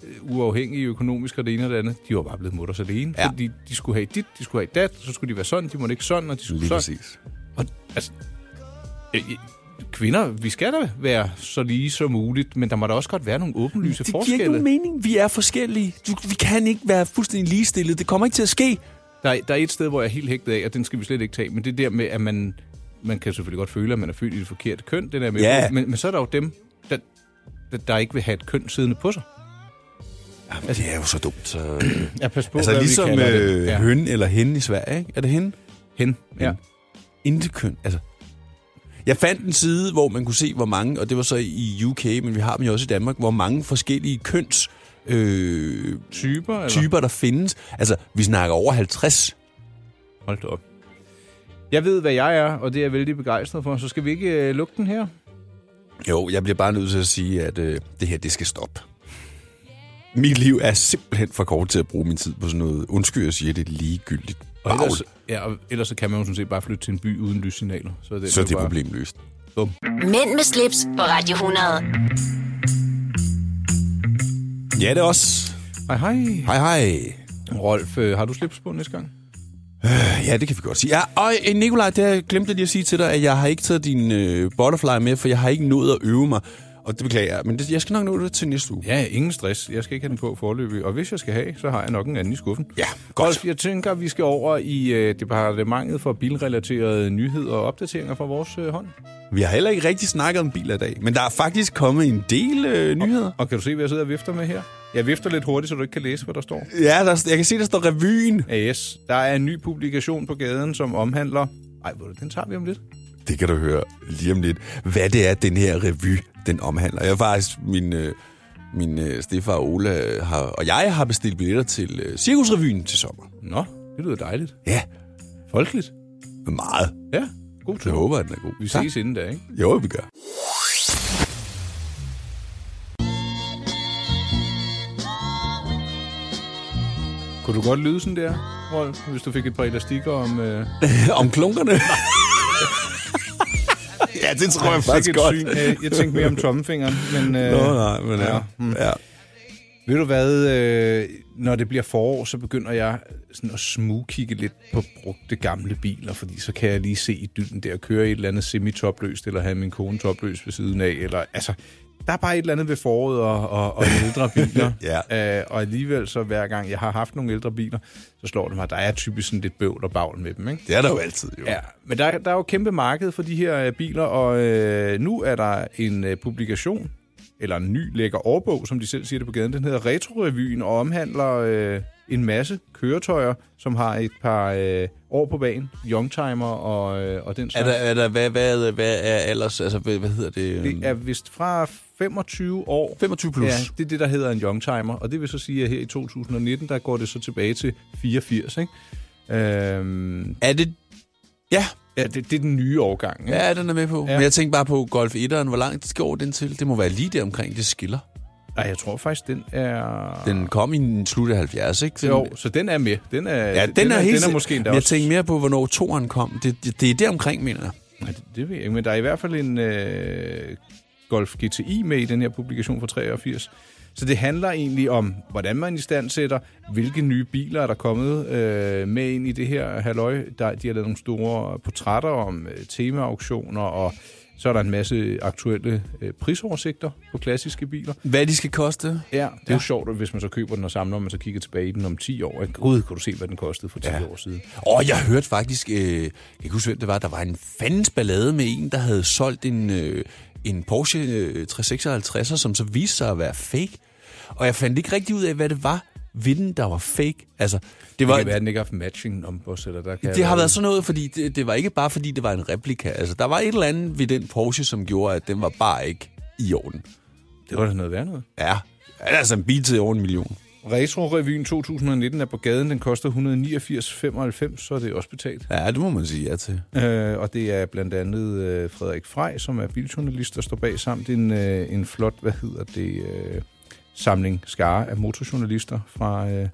øh, uafhængig økonomisk og det ene og det andet. De var bare blevet mutters alene,
Ja.
ja. fordi de skulle have dit, de skulle have dat, så skulle de være sådan, de måtte ikke sådan, og de skulle sådan. Og, altså, øh, øh, kvinder, vi skal da være så lige som muligt, men der må da også godt være nogle åbenlyse
Det giver ikke
forskelle.
nogen mening. Vi er forskellige. Du, vi kan ikke være fuldstændig ligestillet. Det kommer ikke til at ske.
Der, er- der er et sted, hvor jeg er helt hægtet af, og den skal vi slet ikke tage, men det der med, at man, man kan selvfølgelig godt føle, at man er født i det forkerte køn, det der med,
Ja.
men, men så er der jo dem, der, der, der ikke vil have et køn siddende på sig.
Altså, det er jo så dumt. Så...
Ja, pas på,
altså
hvad
ligesom
vi kalder det.
øh, ja.
Ja.
høn eller hende i Sverige. Ikke? Er det hende?
Hen. Ja.
Intet køn. Altså. Jeg fandt en side, hvor man kunne se, hvor mange, og det var så i UK, men vi har dem jo også i Danmark, hvor mange forskellige køns øh,
Typer? Eller?
typer, der findes. Altså, vi snakker over 50.
Hold da op. Jeg ved, hvad jeg er, og det er jeg vældig begejstret for, så skal vi ikke øh, lukke den her?
Jo, jeg bliver bare nødt til at sige, at øh, det her, det skal stoppe. Mit liv er simpelthen for kort til at bruge min tid på sådan noget, undskyld, jeg siger det, ligegyldigt.
Og
bagl.
ellers, ja, og ellers så kan man jo sådan set bare flytte til en by uden lyssignaler. Så er det,
så er
jo
det
bare...
problemløst.
Mænd med slips på Radio 100.
Ja, det er også.
Hej, hej.
Hej, hej.
Rolf, øh, har du slips på næste gang?
Ja, det kan vi godt sige. Ja, og øh, Nikolaj, det har jeg glemt lige at sige til dig, at jeg har ikke taget din øh, butterfly med, for jeg har ikke nået at øve mig. Og det beklager jeg, men det, jeg skal nok nå det til næste uge.
Ja, ingen stress. Jeg skal ikke have den på forløbig. Og hvis jeg skal have, så har jeg nok en anden i skuffen.
Ja,
Rolf, jeg tænker, at vi skal over i øh, departementet for bilrelaterede nyheder og opdateringer fra vores øh, hånd.
Vi har heller ikke rigtig snakket om biler i dag, men der er faktisk kommet en del øh, nyheder.
Og kan du se, hvad jeg sidder og vifter med her? Jeg vifter lidt hurtigt, så du ikke kan læse, hvad der står.
Ja, der, jeg kan se, der står revyen.
AS. Der er en ny publikation på gaden, som omhandler... Ej, hvor er det? den tager vi om lidt.
Det kan du høre lige om lidt, hvad det er, den her revy, den omhandler. Jeg har faktisk, min, øh, min øh, stefar Ola øh, har, og jeg har bestilt billetter til øh, Cirkusrevyen til sommer.
Nå, det lyder dejligt.
Ja,
Folkeligt.
meget.
Ja, god tur.
Jeg håber, at den er god.
Vi
Tak.
ses inden da, ikke?
Jo, vi gør.
Kunne du godt lyde sådan der, Rolf, hvis du fik et par elastikker om... Øh,
om klunkerne. ja, det tror jeg
ikke
faktisk
et
godt.
syn. Øh, jeg tænkte mere om tommefingeren, men... Øh,
Nå, nej, men ja. hmm.
Ja.
ja.
Ved du hvad, øh, når det bliver forår, så begynder jeg sådan at smugkigge lidt på brugte gamle biler, fordi så kan jeg lige se i dylden der, køre i et eller andet semi-topløst, eller have min kone topløs ved siden af, eller altså, der er bare et eller andet ved foråret og, og, og ældre biler.
Ja.
øh, og alligevel så hver gang jeg har haft nogle ældre biler, så slår det mig, at der er typisk sådan lidt bøvl og bagl med dem, ikke?
Det er der jo altid, jo.
Ja, men der, der er jo kæmpe marked for de her øh, biler, og øh, nu er der en øh, publikation, eller en ny lækker årbog, som de selv siger det på gaden. Den hedder Retrorevyen og omhandler øh, en masse køretøjer, som har et par øh, år på banen. Youngtimer og, øh, og den
Er
slags.
der, er der, hvad, hvad, hvad er ellers, altså, hvad, hvad hedder det? øhm,
Det er vist fra 25 år.
25 plus.
Ja, det er det, der hedder en youngtimer. Og det vil så sige, at her i 2019, der går det så tilbage til 84, ikke? Øhm,
Er det... Ja,
ja, det, det er den nye årgang, ikke?
ja, den er med på. Ja.
Ja.
Men jeg tænkte bare på Golf 1'eren. Hvor langt går den til? Det må være lige der omkring, det skiller.
Ej, jeg tror faktisk, den er...
Den kom i den slut af 70, ikke? Den,
Jo, så den er med. Den er,
Ja, den, den er, helt...
den er måske endda
Men jeg
også...
tænkte mere på, hvornår toren kom. Det, det, det er der omkring, mener jeg.
Nej, det, det ved jeg ikke, men der er i hvert fald en øh, Golf GTI med i den her publikation fra 83. Så det handler egentlig om, hvordan man i stand sætter, hvilke nye biler er der kommet øh, med ind i det her halløj. Der, de har lavet nogle store portrætter om øh, temaauktioner, og så er der en masse aktuelle øh, prisoversigter på klassiske biler.
Hvad de skal koste?
Ja, det er jo sjovt, hvis man så køber den og samler, og man så kigger tilbage i den om 10 år. ikke? Gud, kunne du se, hvad den kostede for 10
Ja.
år siden.
Og jeg hørte faktisk, øh, jeg kan huske, hvem det var, der var en fandens ballade med en, der havde solgt en, øh, en Porsche øh, 356'er, som så viste sig at være fake. Og jeg fandt ikke rigtig ud af, hvad det var ved den, der var fake. Altså, det,
Det
var,
kan være, at den ikke har haft matching numbers, eller der kan
det har været sådan noget, fordi det, det var ikke bare, fordi det var en replika. Altså, der var et eller andet ved den Porsche, som gjorde, at den var bare ikke i orden.
Det var da noget værd noget.
Ja, det er altså en bil til over en million.
Retro-revyen 2019 er på gaden. Den koster 189,95, så er det også betalt.
Ja, det må man sige ja til.
Øh, og det er blandt andet øh, Frederik Frej, som er biljournalist, der står bag, samt en, øh, en flot, hvad hedder det, øh, samling skare af motorjournalister fra øh,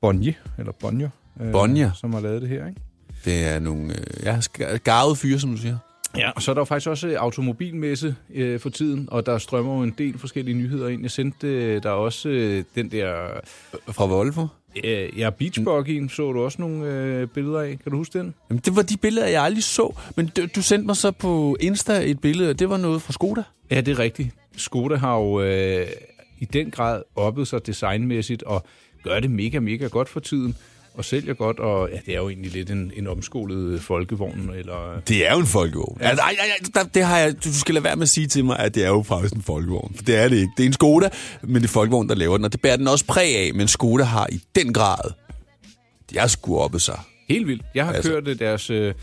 Bonje, eller Bonjo, øh,
Bonje.
som har lavet det her, ikke?
Det er nogle øh, ja, ska- garvede fyre, som du siger.
Ja, og så er der jo faktisk også øh, automobilmesse øh, for tiden, og der strømmer jo en del forskellige nyheder ind. Jeg sendte øh, der også øh, den der
Fra Volvo.
Øh, ja, Beach Buggyen så du også nogle øh, billeder af. Kan du huske den?
Jamen, det var de billeder, jeg aldrig så. Men du, du sendte mig så på Insta et billede, og det var noget fra Skoda.
Ja, det er rigtigt. Skoda har jo øh, i den grad oppet sig designmæssigt og gør det mega, mega godt for tiden og sælger godt, og ja, det er jo egentlig lidt en, en omskolet øh, folkevogn, eller... øh,
Det er jo en folkevogn. Ja. Altså, ej, ej, ej, der- det har jeg, du skal lade være med at sige til mig, at det er jo faktisk en folkevogn. For det er det ikke. Det er en Skoda, men det er folkevogn, der laver den, og det bærer den også præg af. Men Skoda har i den grad, de har sgu oppe sig.
Helt vildt. Jeg har
Altså.
altså. kørt øh, deres, øh,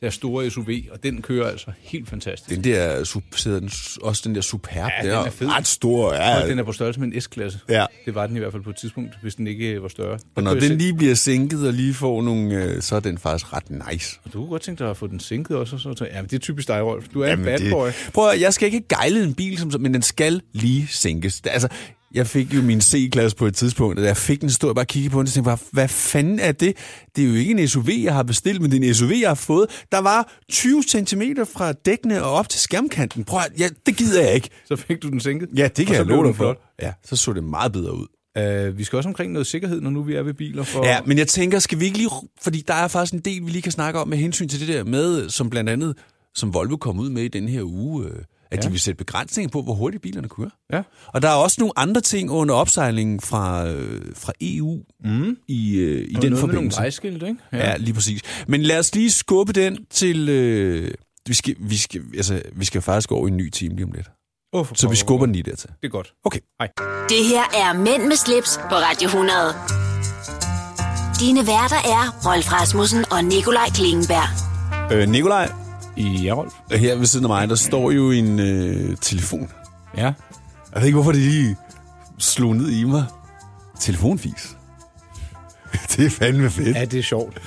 deres store SUV, og den kører altså helt fantastisk.
Den der, sup- sidder den, s- også den der Superb,
Ja,
der
den er fed.
ret stor. Ja,
Og den er på størrelse med en S-klasse.
Ja.
Det var den i hvert fald på et tidspunkt, hvis den ikke øh, var større. Der
og når
kunne jeg
den lige bliver sænket og lige får nogle, øh, så er den faktisk ret nice.
se- Du kunne godt tænke dig at få den sænket også, og så tænkte jeg, ja, men det er typisk dig, Rolf. Du er en
Jamen,
bad boy.
Prøv at, høre, jeg skal ikke gejle en bil, som, men den skal lige sænkes. Det- Altså, jeg fik jo min C-klasse på et tidspunkt, og da jeg fik den, stod jeg bare og kiggede på den, og tænkte bare, hvad fanden er det? Det er jo ikke en SUV, jeg har bestilt, men det er en SUV, jeg har fået. Der var 20 cm fra dækkene og op til skærmkanten. Prøv at, høre, ja, det gider jeg ikke.
Så fik du den sænket.
Ja, det
Og
kan
så
jeg
blev
love
den
dig for. Ja, så så det meget bedre ud.
Øh, vi skal også omkring noget sikkerhed, når nu vi er ved biler. For...
Ja, men jeg tænker, skal vi ikke lige... Fordi der er faktisk en del, vi lige kan snakke om med hensyn til det der med, som blandt andet, som Volvo kom ud med i den her uge, øh, at ja. de vil sætte begrænsninger på, hvor hurtigt bilerne kører.
Ja.
Og der er også nogle andre ting under opsejlingen fra, øh, fra EU mm. i, øh, i den
noget med nogle
forbindelse.
vejskilte, ikke?
Ja. ja, lige præcis. Men lad os lige skubbe den til... Øh, vi, skal, vi, skal, altså, vi skal faktisk over i en ny time lige om lidt.
Oh, for
Så vi
pokker,
skubber
hvor-
den lige dertil.
Det er godt.
Okay.
Det her er Mænd med slips på Radio 100. Dine værter er Rolf Rasmussen og Nikolaj Klingenberg.
Øh, Nikolaj,
I ja, Rolf.
her ved siden af mig, der står jo en øh, telefon.
Ja.
Jeg ved ikke, hvorfor det lige slog ned i mig. Telefonfis. Det er fandme fedt.
Ja, det er sjovt.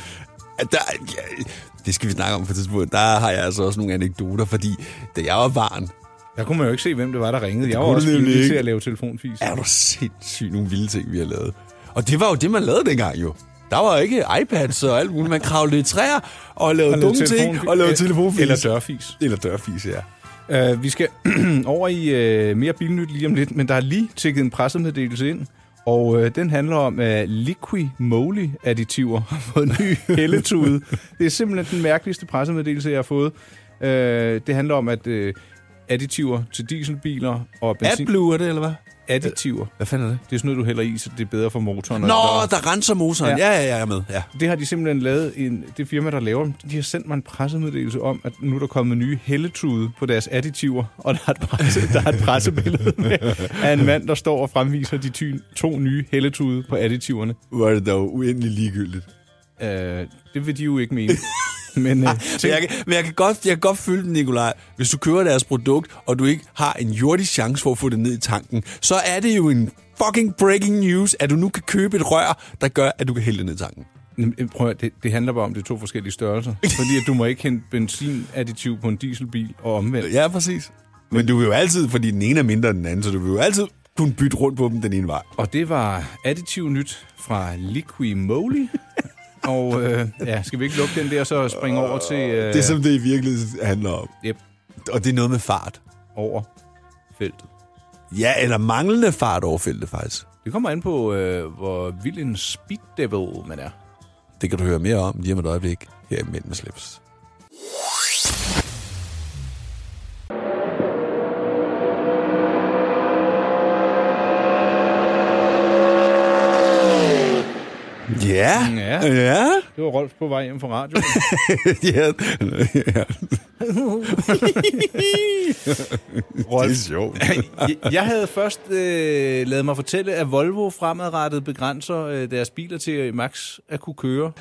At der, ja, det skal vi snakke om på et tidspunkt. Der har jeg altså også nogle anekdoter, fordi da jeg var barn,
Der kunne man jo ikke se, hvem det var, der ringede. Jeg var
kunne
også
det nemlig
villig til
ikke.
at lave telefonfis.
er der sindssygt nogle vilde ting, vi har lavet. Og det var jo det, man lavede dengang jo. Der var jo ikke iPads og alt muligt. Man kravlede i træer og lavede
Og lavede
dumme ting
telefonfis.
og lavede
Øh,
telefonfis.
eller dørfis.
Eller dørfis, ja.
Uh, vi skal over i uh, mere bilnyt lige om lidt, men der er lige tækket en pressemeddelelse ind. Og øh, den handler om, at Liqui Moly additiver har fået en ny helletude. Det er simpelthen den mærkeligste pressemeddelelse, jeg har fået. Øh, det handler om, at øh, additiver til dieselbiler og benzin...
AdBlue er det, eller hvad?
Additiver.
Hvad fanden er det?
Det er sådan noget, du hælder i, så det er bedre for motoren.
Nå,
Og-
der renser motoren. Ja,
Ja.
ja, ja, jeg er med. Ja.
Det har de simpelthen lavet, en, det firma, der laver dem, de har sendt mig en pressemeddelelse om, at nu er der kommet nye helletude på deres additiver, og der er et, presse, der er et pressebillede med, af en mand, der står og fremviser de ty, to nye helletude på additiverne.
Hvor er det dog uendelig ligegyldigt.
Øh, det vil de jo ikke mene. Men, øh,
Så
tænk,
jeg, kan- men jeg kan godt, jeg kan godt følge den, Nikolaj. Hvis du kører deres produkt, og du ikke har en jordig chance for at få det ned i tanken, så er det jo en fucking breaking news, at du nu kan købe et rør, der gør, at du kan hælde det ned i tanken.
Jamen, øh, Prøv at, høre, det, det handler bare om, det er to forskellige størrelser. Fordi at du må ikke hente benzinadditiv på en dieselbil og omvendt.
Ja, præcis. Men du vil jo altid, fordi den ene er mindre end den anden, så du vil jo altid kunne bytte rundt på dem den ene vej.
Og det var additiv nyt fra Liqui Moly. og øh, ja, skal vi ikke lukke den der, så springe over til... Øh,
Det er som det i virkeligheden handler om.
Yep.
Og det er noget med fart.
over feltet.
Ja, eller manglende fart over feltet, faktisk.
Det kommer an på, øh, hvor vild en speed devil man er.
Det kan du høre mere om lige om et øjeblik her i Mænd med slips. Ja,
Ja.
ja,
Det var Rolf på vej hjem fra radioen.
ja. ja.
Rolf.
Det er sjovt.
Jeg- jeg havde først øh, lavet mig fortælle, at Volvo fremadrettet begrænser øh, deres biler til øh, max at kunne køre.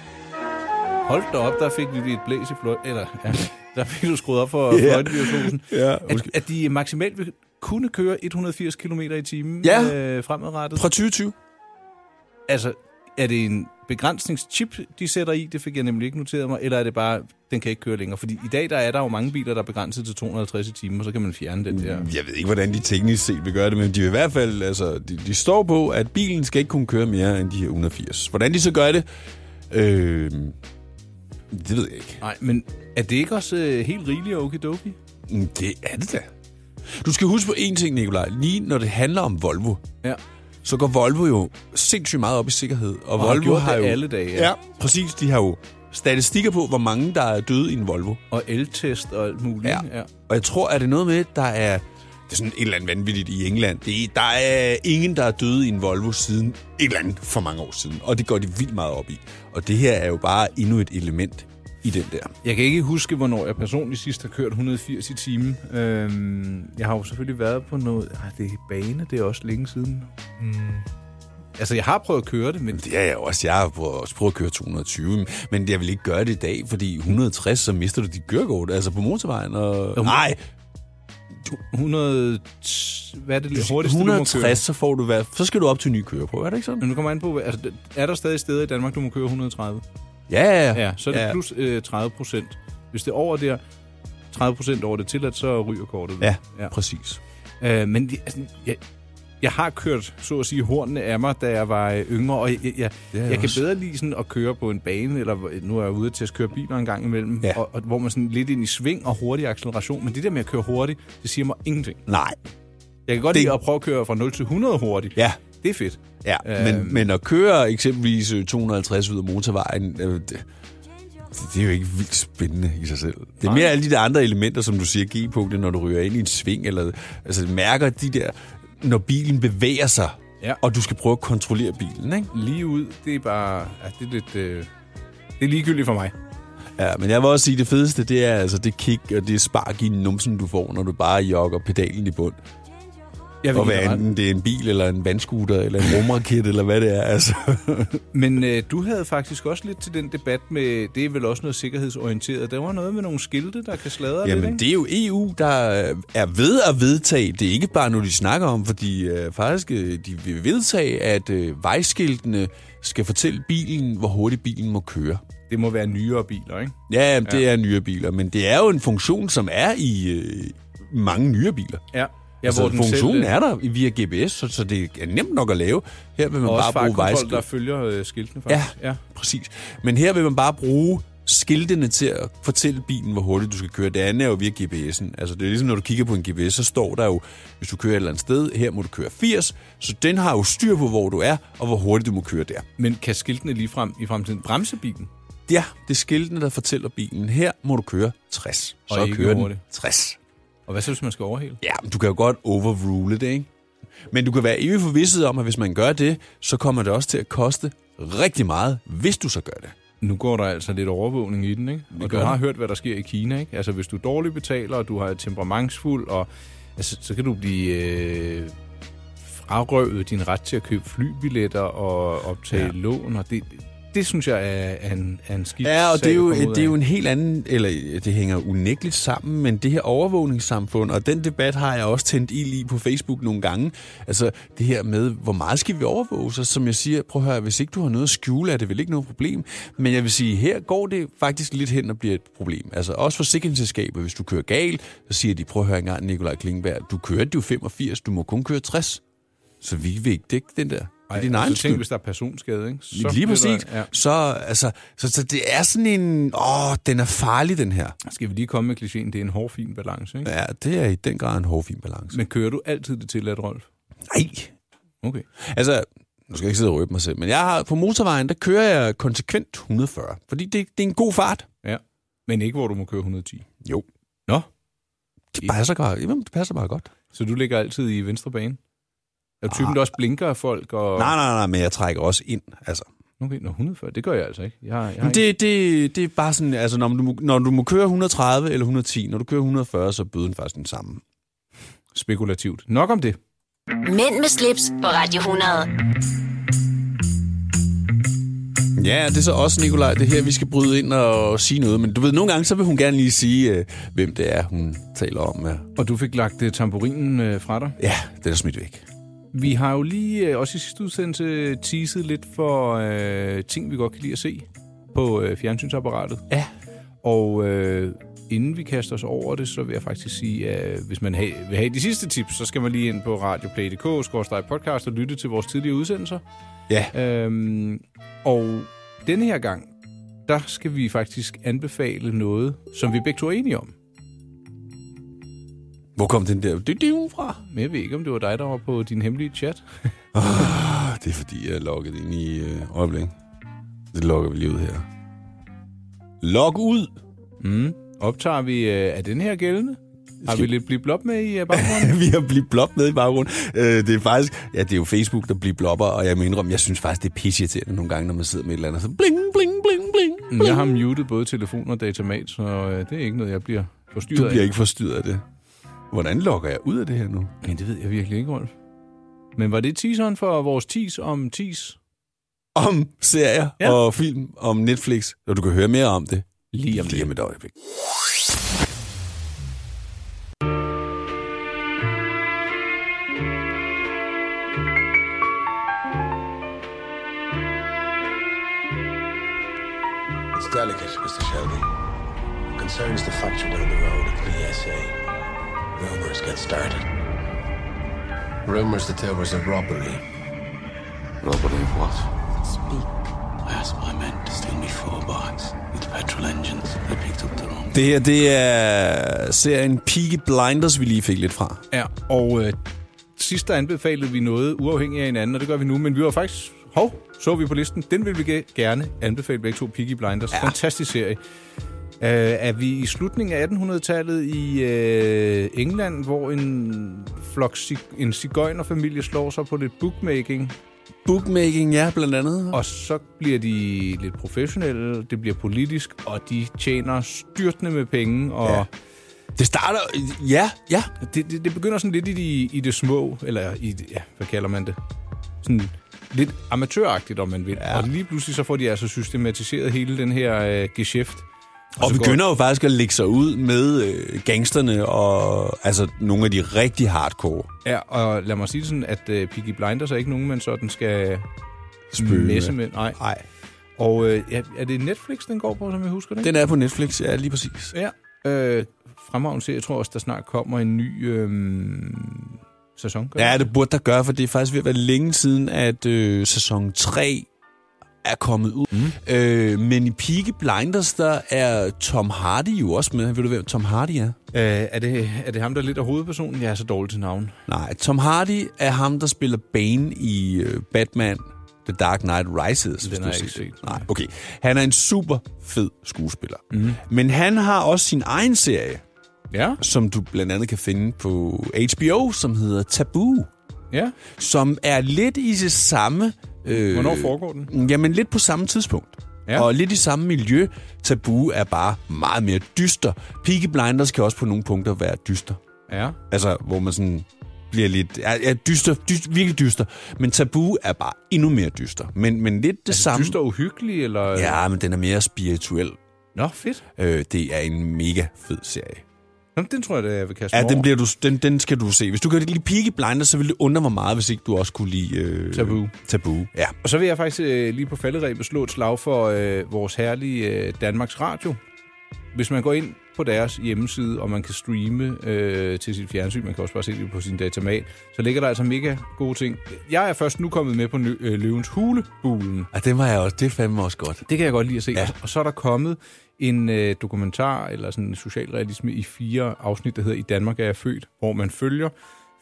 Hold da op, der fik vi lige et blæs i fløj... Eller, ja, der fik du skruet op for yeah. fløjtevivshusen.
Ja,
at, at de maksimalt vil kunne køre 180 km i timen
Ja.
øh, fremadrettet.
Fra 2020.
Altså, er det en begrænsningschip, de sætter i? Det fik jeg nemlig ikke noteret mig. Eller er det bare, den kan ikke køre længere? Fordi i dag der er der jo mange biler, der er begrænset til 250 i timen, og så kan man fjerne den der.
Jeg ved ikke, hvordan de teknisk set vil gøre det, men de vil i hvert fald, altså, de, de står på, at bilen skal ikke kunne køre mere end de her 180. Hvordan de så gør det, øh, det ved jeg ikke.
Nej, men er det ikke også øh, helt rigeligt og okidoki?
Mm, Det er det da. Du skal huske på én ting, Nikolaj. Lige når det handler om Volvo,
Ja.
så går Volvo jo sindssygt meget op i sikkerhed. Og, og
har
Volvo
gjort
har
det
jo,
alle dage, ja.
Ja. ja, præcis. De har jo statistikker på, hvor mange der er døde i en Volvo.
Og eltest og alt muligt.
Ja.
ikke?
ja. Og jeg tror, at det er noget med, der er... Det er sådan et eller andet vanvittigt i England. Det er, der er ingen, der er døde i en Volvo siden et eller andet for mange år siden. Og det går de vildt meget op i. Og det her er jo bare endnu et element i den der.
Jeg kan ikke huske, hvornår jeg personligt sidst har kørt 180 i timen. Øhm, jeg har jo selvfølgelig været på noget... Ej, det er bane, det er også længe siden. Mm. Altså, jeg har prøvet at køre det, men
Det er jeg også. Jeg har prøvet- også prøvet at køre 220, men jeg vil ikke gøre det i dag, fordi 160, så mister du dit kørekort, altså på motorvejen. Og... Nej,
100... Hvad er det, det hurtigste, du må køre?
160, så, får du hvad... så skal du op til en ny køreprøve, er det ikke sådan?
Men nu kommer an på, hvad- altså, er der stadig steder i Danmark, du må køre 130?
Ja, ja,
Ja, så er det ja. plus øh, 30 procent. Hvis det er over der, 30 procent over det tilladt, så ryger kortet.
Ja,
ja.
ja, præcis.
Øh, men det- altså, jeg, jeg har kørt, så at sige, hornene af mig, da jeg var øh, yngre, og jeg, jeg, jeg,
er jeg
jeg kan
også.
bedre lide sådan at køre på en bane, eller hvor- nu er jeg ude til at køre biler en gang imellem,
Ja.
og, og, hvor man sådan lidt ind i sving og hurtig acceleration, men det der med at køre hurtigt, det siger mig ingenting.
Nej,
Jeg kan godt det...
Det-
lide at prøve at køre fra 0 til 100 hurtigt.
ja.
Det er fedt.
ja.
Øhm.
Men, men at køre eksempelvis øh, 250 ud af motorvejen, øh, det, det er jo ikke vildt spændende i sig selv. Det er mere alle de der andre elementer, som du siger, G-punktet, når du ryger ind i en sving, eller altså, mærker de der, når bilen bevæger sig,
Ja.
og du skal prøve at kontrollere bilen, ikke?
Lige ud, det er bare... Ja, det er lidt... Øh, det er ligegyldigt for mig.
Ja, men jeg vil også sige, det fedeste, det er altså det kick og det spark i numsen, du får, når du bare jogger pedalen i bund.
Jeg
Og hvad
generelt-
enten det er en bil, eller en vandscooter, eller en rumraket, eller hvad det er, altså.
Men øh, du havde faktisk også lidt til den debat med, det er vel også noget sikkerhedsorienteret. Der var noget med nogle skilte, der kan sladre lidt,
Jamen,
ikke?
det er jo EU, der øh, er ved at vedtage. Det er ikke bare noget, de snakker om, fordi øh, faktisk øh, de vil vedtage, at øh, vejskiltene skal fortælle bilen, hvor hurtigt bilen må køre.
Det må være nyere biler, ikke?
Ja, jamen, det er nyere biler, men det er jo en funktion, som er i øh, mange nyere biler.
Ja.
Ja, altså, hvor den funktionen
øh,
er der via GPS, så, så det er nemt nok at lave. Her vil man
og også
bare bruge
fartkontrol, der
vejskilt.
følger øh, skiltene,
Ja,
faktisk.
ja, præcis. Men her vil man bare bruge skiltene til at fortælle bilen, hvor hurtigt du skal køre. Det andet er jo via GPS'en. Altså, det er ligesom, når du kigger på en GPS, så står der jo, hvis du kører et eller andet sted, her må du køre 80, så den har jo styr på, hvor du er, og hvor hurtigt du må køre der.
Men kan skiltene lige frem i fremtiden bremse bilen?
Ja, det er skiltene, der fortæller bilen, her må du køre 60.
Og
så
ikke
kører den
hurtigt.
60.
Og hvad så, hvis man skal overhale?
Ja, men du kan jo godt overrule det, ikke? Men du kan være evig forvisset om, at hvis man gør det, så kommer det også til at koste rigtig meget, hvis du så gør det.
Nu går der altså lidt overvågning i den, ikke? Og du
gør der.
har hørt, hvad der sker i Kina, ikke? Altså, hvis du dårligt betaler, og du har temperamentsfuld, og altså, så kan du blive øh, frarøvet din ret til at købe flybilletter og optage ja. lån, og det, det synes jeg er, er, en, er en skidt
Ja, og
sag
det er, jo,
at komme ud
det er
af.
jo en helt anden, eller øh, det hænger unægteligt sammen, men det her overvågningssamfund, og den debat har jeg også tændt ild i på Facebook nogle gange, altså det her med, hvor meget skal vi overvåge sig, som jeg siger, prøv at høre, hvis ikke du har noget at skjule, er det vel ikke noget problem, men jeg vil sige, her går det faktisk lidt hen og bliver et problem, altså også forsikringsselskabet, hvis du kører galt, så siger de, prøv at høre engang, Nikolaj Klingberg, du kørte jo 85, du må kun køre 60, så vi vil ikke dække den der. Det er din
Ej,
egen
altså, tænk,
skyld.
hvis der er personskade, ikke? Så
Så Lige
bliver
præcis.
Der, ja.
Så, altså, så, så det er sådan en... Åh, den er farlig, den her.
Skal vi lige komme med klichéen, det er en hårfin balance, ikke? Ja.
Ja, det er i den grad en hårfin balance. Men,
Men kører du altid det tilladt, Rolf?
nej!
Okay.
Altså, nu skal jeg ikke sidde og røbe mig selv, men jeg har på motorvejen, der kører jeg konsekvent 140. Fordi det, det er en god fart.
Ja. Men ikke, hvor du må køre 110.
Jo.
Nå,
Det passer, godt. Jamen, det passer bare godt.
så du ligger altid i venstre bane? Er du typen, der også blinker af folk? Og...
Ah. Nej, nej, nej, men jeg trækker også ind. Altså.
Okay, nå, 140, det gør jeg altså ikke. Jeg, har- jeg har
Men
ikke...
det, det, det er bare sådan, altså, når du, må- når du må køre 130 eller 110, når du kører 140, så er bøden faktisk den samme.
Spekulativt. Nok om det.
Mænd med slips på Radio 100.
Ja, det er så også, Nikolaj, det er her, vi skal bryde ind og sige noget. Men du ved, nogle gange, så vil hun gerne lige sige, øh, hvem det er, hun taler om. øh.
Og du fik lagt uh, tamburinen uh, fra dig.
Ja, den er smidt væk.
Vi har jo lige, øh, også i sidste udsendelse, teaset lidt for øh, ting, vi godt kan lide at se på øh, fjernsynsapparatet. Ja. Og øh, inden vi kaster os over det, så vil jeg faktisk sige, at øh, hvis man ha- vil have de sidste tips, så skal man lige ind på radioplay.dk-podcast og lytte til vores tidligere udsendelser.
Ja.
Øhm, og denne her gang, der skal vi faktisk anbefale noget, som vi begge to er enige om.
Hvor kom den der dydiv fra?
Men jeg ved ikke, om det var dig, der var på din hemmelige chat.
Ah, Det er, fordi jeg er logget ind i øh, øjeblik. Det logger vi lige ud her. Log ud!
Mm. Optager vi, øh, er den her gældende? Har vi
Skal-
lidt blivet blop med i øh, baggrunden?
vi har blivet blop med i baggrunden. Øh, det er faktisk, ja, det er jo Facebook, der bliver blopper, og jeg må indrømme, jeg synes faktisk, det er pisseirriterende nogle gange, når man sidder med et eller andet, så bling, bling, bling, bling.
Mm, jeg har muted både telefon og datamat, så øh, det er ikke noget, jeg bliver forstyrret
Du bliver
af.
ikke forstyrret af det. Hvordan logger jeg ud af det her nu?
Men det ved jeg virkelig ikke, Rolf. Men var det teaseren for vores teas om teas?
Om serier
Ja.
ja. og film, om Netflix, og du kan høre mere om det
Lige om
lige
lidt.
om et øjeblik.
It's delicate, Mr. Shelby. Concerns the factual on the road of the ESA. Rumors get started. Rumors that there was a robbery.
Robbery of what? Speak. I asked my men to steal me four bikes with petrol engines. They picked up the wrong.
Det her, det er serien Peaky Blinders, vi lige fik lidt fra.
Ja, og øh, sidst der anbefalede vi noget uafhængigt af hinanden, og det gør vi nu, men vi var faktisk... Hov, så vi på listen. Den vil vi ge- gerne anbefale begge to, Peaky Blinders. Ja. Fantastisk serie. Øh, er vi i slutningen af 1800-tallet i øh, England, hvor en flok cig- en cigøjnerfamilie slår sig på lidt bookmaking,
Bookmaking, ja, blandt andet.
og så bliver de lidt professionelle, det bliver politisk, og de tjener styrtende med penge, og... Ja.
Det starter, ja, ja.
det, det, det begynder sådan lidt i, de, i det små, eller i, det- ja, hvad kalder man det? Sådan lidt amatøragtigt, om man vil. Ja. Og lige pludselig så får de altså systematiseret hele den her øh, geschæft.
Og
så
begynder jo faktisk at lægge sig ud med øh, gangsterne og altså nogle af de rigtig hardcore.
Går, ja, og lad mig sige det sådan, at øh, Piggy Blinders er ikke nogen, man sådan skal
Spøge med.
messe med. Nej.
Nej.
Og øh, ja, er det Netflix, den går på, som jeg husker det?
Den er på Netflix, ja, lige præcis.
Ja. Øh, fremragende serie, jeg tror også, der snart kommer en ny øh, sæson. gør der?
Ja, det burde der gøre, for det er faktisk ved at være længe siden, at øh, sæson 3 er kommet ud. Mm. Øh, men i Peaky Blinders, der er Tom Hardy jo også med. Ved du, hvem Tom Hardy er?
Øh, er, det, er det ham, der lidt er hovedpersonen? Jeg er så dårlig til navn.
Nej, Tom Hardy er ham, der spiller Bane i øh, Batman The Dark Knight Rises. hvis
Den
du
har jeg
set
ikke
det.
set.
Nej, okay. Han er en super fed skuespiller. Mm. Men han har også sin egen serie,
Ja,
som du blandt andet kan finde på HBO, som hedder Taboo.
ja.
Som er lidt i det samme... Øh,
Hvornår foregår den?
Jamen lidt på samme tidspunkt.
Ja.
Ja. Og lidt i samme miljø. Tabu er bare meget mere dyster. Peaky Blinders kan også på nogle punkter være dyster.
Ja.
Altså, hvor man sådan bliver lidt... Er, er dyster, dyster, virkelig dyster. Men Tabu er bare endnu mere dyster. Men, men lidt det altså, samme...
Dyster og uhyggelig, eller...
Ja, men den er mere spirituel.
Nå, fedt.
Øh, det er en mega fed serie.
Nå, den tror jeg, da jeg vil kaste
Ja,
mig over.
den, bliver du, den, den skal du se. Hvis du kan lide Peaky Blinders, så vil det undre mig meget, hvis ikke du også kunne lide... Øh,
Tabu.
Tabu, ja.
Og så vil jeg faktisk øh, lige på falderæbet slå et slag for øh, vores herlige øh, Danmarks Radio. Hvis man går ind på deres hjemmeside, og man kan streame øh, til sit fjernsyn, man kan også bare se det på sin datamat, så ligger der altså mega gode ting. Jeg er først nu kommet med på nø- øh, Løvens Hulebulen.
Og den var jeg også... Det er fandme også godt.
Det kan jeg godt lide at se. Ja.
Ja.
Og så er der kommet en øh, dokumentar, eller sådan en socialrealisme i fire afsnit, der hedder I Danmark er jeg født, hvor man følger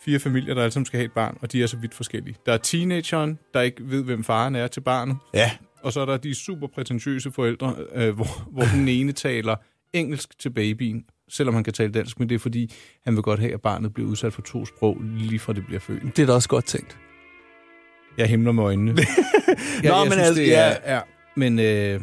fire familier, der alle sammen skal have et barn, og de er så vidt forskellige. Der er teenageren, der ikke ved, hvem faren er til barnet,
Ja.
og så er der de super prætentiøse forældre, øh, hvor, hvor den ene taler engelsk til babyen, selvom han kan tale dansk, men det er fordi, han vil godt have, at barnet bliver udsat for to sprog, lige fra det bliver født.
Det er da også godt tænkt.
Jeg himler med øjnene. ja, Nå, jeg men synes, altså, det er, ja. Men, øh,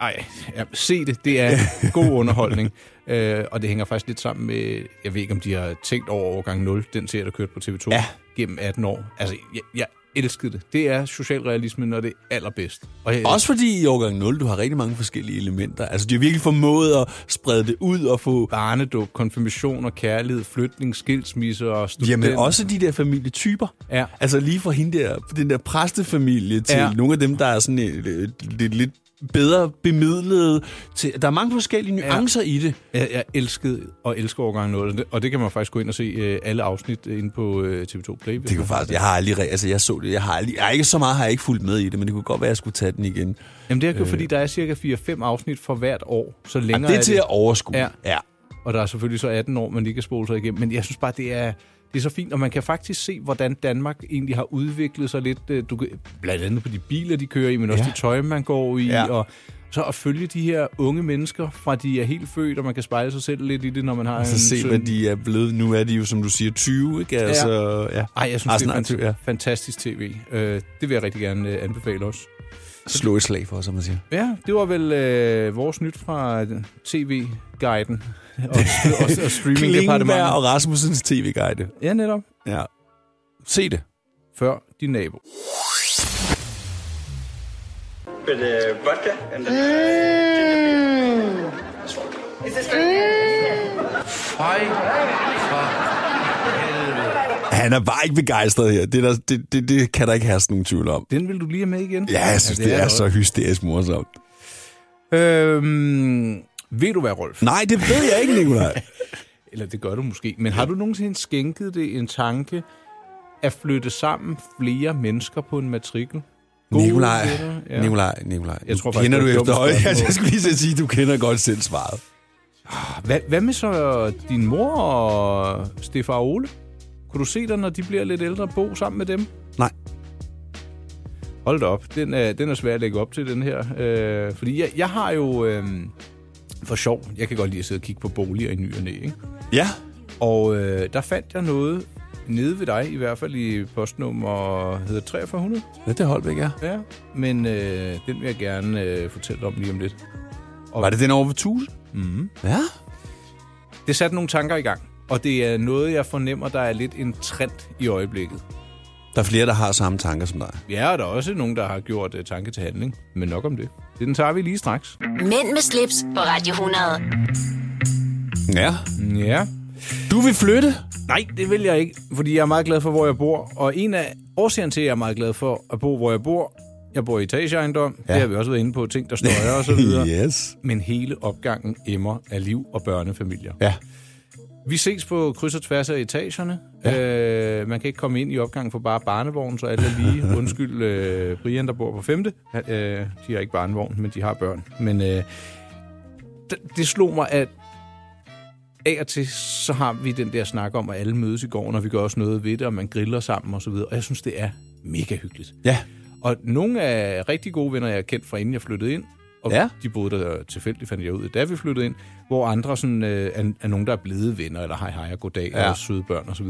ej, ja, se det. Det er god underholdning. øh, og det hænger faktisk lidt sammen med, jeg ved ikke, om de har tænkt over overgang 0, den serie, der kørte på TV2 ja. gennem 18 år. Altså, jeg, jeg elskede det. Det er socialrealisme, når det er allerbedst. Og jeg,
Også fordi i årgang 0, du har rigtig mange forskellige elementer. Altså, de har virkelig formået at sprede det ud og få...
barnedåb, konfirmation og kærlighed, flytning, skilsmisser og studenter.
Jamen, også de der familietyper.
Ja.
Altså, lige fra hende der, den der præstefamilie til
Ja.
ja. nogle af dem, der er sådan øh, lidt, lidt, lidt bedre bemidlede. Til, der er mange forskellige nuancer ja. i det.
Jeg, jeg elskede og elsker årgang 0, og det, og det kan man faktisk gå ind og se øh, alle afsnit øh, inde på øh, TV2 Play.
Det kunne faktisk... Jeg har aldrig... re- Altså, jeg så det. Jeg har aldrig... Jeg, ikke så meget har jeg ikke fulgt med i det, men det kunne godt være, at jeg skulle tage den igen.
Jamen, det er jo øh, fordi, der er cirka 4-5 afsnit for hvert år, så længere
Længere det er til at overskue.
Ja.
ja.
Og der er selvfølgelig så 18 år, man lige kan spole sig igennem. Men jeg synes bare, det er, det er så fint, og man kan faktisk se, hvordan Danmark egentlig har udviklet sig lidt. Øh, Du kan, blandt andet på de biler, de kører i, men også ja.
Ja.
de tøj, man går i. Ja.
Ja.
Og så at følge de her unge mennesker, fra de er helt født, og man kan spejle sig selv lidt i det, når man har en
Mm, Så se,
søn.
hvad de er blevet. Nu er de jo, som du siger, 20, ikke? Altså, ja.
Ej, jeg synes,
Arsenal,
det er fant-
ja.
fantastisk tv. Øh, det vil jeg rigtig gerne øh, anbefale også.
Slå et slag for, som man siger.
Ja, det var vel øh, vores nyt fra øh, tv-guiden og, og, og, og
Klingberg og
streaming-departementet.
Rasmussens tv-guide.
Ja, netop.
Ja. Se det.
Før din nabo.
With uh, vodka and then.
Han er bare ikke begejstret her. Det, er der, det, det, det kan der ikke herske nogen tvivl om.
Den vil du lige have med igen?
Ja, jeg synes, ja, det, det er, er så hysterisk morsomt.
noget. Øhm, ved du hvad, Rolf?
Nej, det ved jeg ikke, Nikolaj.
Eller det gør du måske. Men har du nogensinde skænket det en tanke at flytte sammen flere mennesker på en matrikel? Gode
Nikolaj,
venner,
ja. Nikolaj, Nikolaj.
Jeg
Jeg
tror
tror
faktisk,
kender
det
du
er et dumt
efter øje.
spørgsmål.
Jeg skulle lige så sige, du kender godt selv svaret.
Hvad, hvad med så din mor og Stefan og Ole? Kunne du se dig, når de bliver lidt ældre, bo sammen med dem?
Nej.
Hold da op. Den er, den er svær at lægge op til, den her. Øh, fordi jeg, jeg har jo... Øh, for sjov. Jeg kan godt lide at sidde og kigge på boliger i ny og næ, ikke?
Ja.
Og øh, der fandt jeg noget nede ved dig, i hvert fald i postnummer hedder 4300.
Ja, det holdt ikke, ja.
Ja. Men øh, den vil jeg gerne øh, fortælle om lige om lidt.
Var det den over ved Tuse?
Mm.
Ja.
Det satte nogle tanker i gang, og det er noget, jeg fornemmer, der er lidt en trend i øjeblikket.
Der er flere, der har samme tanker som dig.
Ja, og der er også nogen, der har gjort øh, tanke til handling, men nok om det. Den tager vi lige straks.
Mænd med slips på Radio 100.
Ja.
Ja.
Du vil flytte?
Nej, det vil jeg ikke, fordi jeg er meget glad for, hvor jeg bor. Og en af årsagerne til, at jeg er meget glad for at bo, hvor jeg bor, jeg bor i etageejendom, ja.
Ja.
det har vi også været inde på, ting der støjer og så videre.
yes.
Men hele opgangen emmer af liv og børnefamilier.
Ja.
Vi ses på kryds og tværs af etagerne. Ja.
Ja.
Øh, man kan ikke komme ind i opgangen for bare barnevogn, så alle er lige. Undskyld øh, Brian, der bor på femte. Han, Øh, de har ikke barnevogn, men de har børn. Men øh, d- det slog mig, at af og til, så har vi den der snak om, at alle mødes i går, når vi gør også noget ved det, og man griller sammen og så videre. Og jeg synes, det er mega hyggeligt.
Ja.
Og nogle af rigtig gode venner, jeg har kendt fra inden jeg flyttede ind, og ja.
Ja.
de boede der tilfældigt, fandt jeg ud af, da vi flyttede ind, hvor andre sådan, øh, er, er nogen, der er blevet venner, eller hej hej og goddag, ja.
Ja.
og søde børn osv.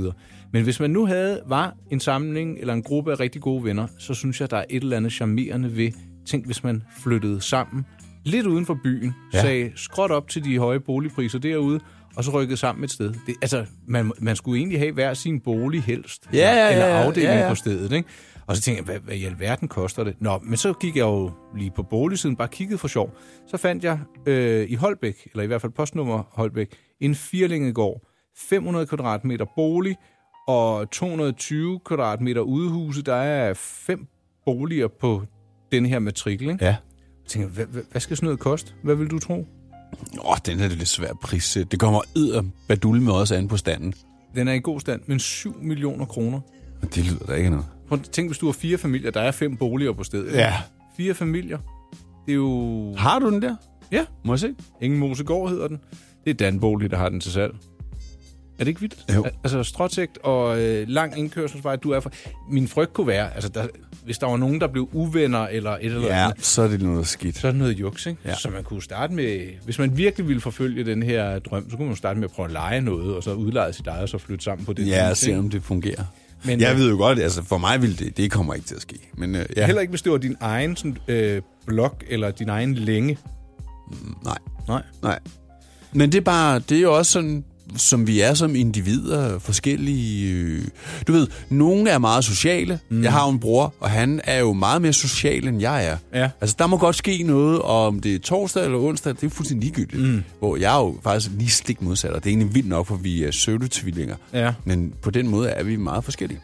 Men hvis man nu havde, var en samling eller en gruppe af rigtig gode venner, så synes jeg, der er et eller andet charmerende ved, tænk hvis man flyttede sammen, lidt uden for byen, ja.
Ja.
sagde skråt op til de høje boligpriser derude, og så rykkede sammen et sted. Det, altså, man, man skulle egentlig have hver sin bolig helst
Ja, ja,
eller
ja, ja,
afdeling
ja, ja.
på stedet. Ikke? Og så tænkte jeg, hvad, hvad i alverden koster det? Nå, men så gik jeg jo lige på boligsiden, bare kiggede for sjov. Så fandt jeg øh, i Holbæk, eller i hvert fald postnummer Holbæk, en firlingegård, 500 kvadratmeter bolig og 220 kvadratmeter udehuse. Der er fem boliger på den her matrikel. Ikke?
Ja.
Jeg tænkte, hvad, hvad, hvad skal sådan noget koste? Hvad vil du tro?
Åh, oh, den er lidt svær pris. Det kommer edder badul med også an på standen.
Den er i god stand, men 7 millioner kroner.
Men Det lyder da ikke noget.
Prøv at tænk, hvis du har fire familier, der er fem boliger på stedet. ikke? Fire familier. Det er jo...
Har du den der?
Ja,
Må jeg se?
Ingen Mosegård hedder den. Det er Danbolig, der har den til salg. Er det ikke vildt?
Jo.
Al- Altså stråtægt og øh, lang indkørselsvej, du er for... Min frygt kunne være, altså der, hvis der var nogen, der blev uvenner eller et eller
Ja,
andet,
så er det noget skidt.
så er det noget juks, ikke?
Ja.
Så man kunne starte med... Hvis man virkelig ville forfølge den her drøm, så kunne man starte med at prøve at lege noget, og så udleje sit eget, og så flytte sammen på det.
Ja, og
vis,
se
ikke?
om det fungerer.
Men,
Men,
øh,
jeg ved jo godt, altså for mig vil det, det kommer ikke til at ske. Men øh, ja,
Heller ikke, hvis det var din egen sådan, øh, blok eller din egen længe.
nej,
Nej.
nej. Men det er bare, det er jo også sådan, som vi er som individer, forskellige... øh, Du ved, nogle er meget sociale. Mm. Jeg har jo en bror, og han er jo meget mere social, end jeg er.
Ja.
Altså, der må godt ske noget, og om det er torsdag eller onsdag, det er fuldstændig ligegyldigt. Mm. Hvor jeg er jo faktisk lige stik modsat, og det er egentlig vildt nok, for vi er søvletvillinger.
Ja.
Men på den måde er vi meget forskellige.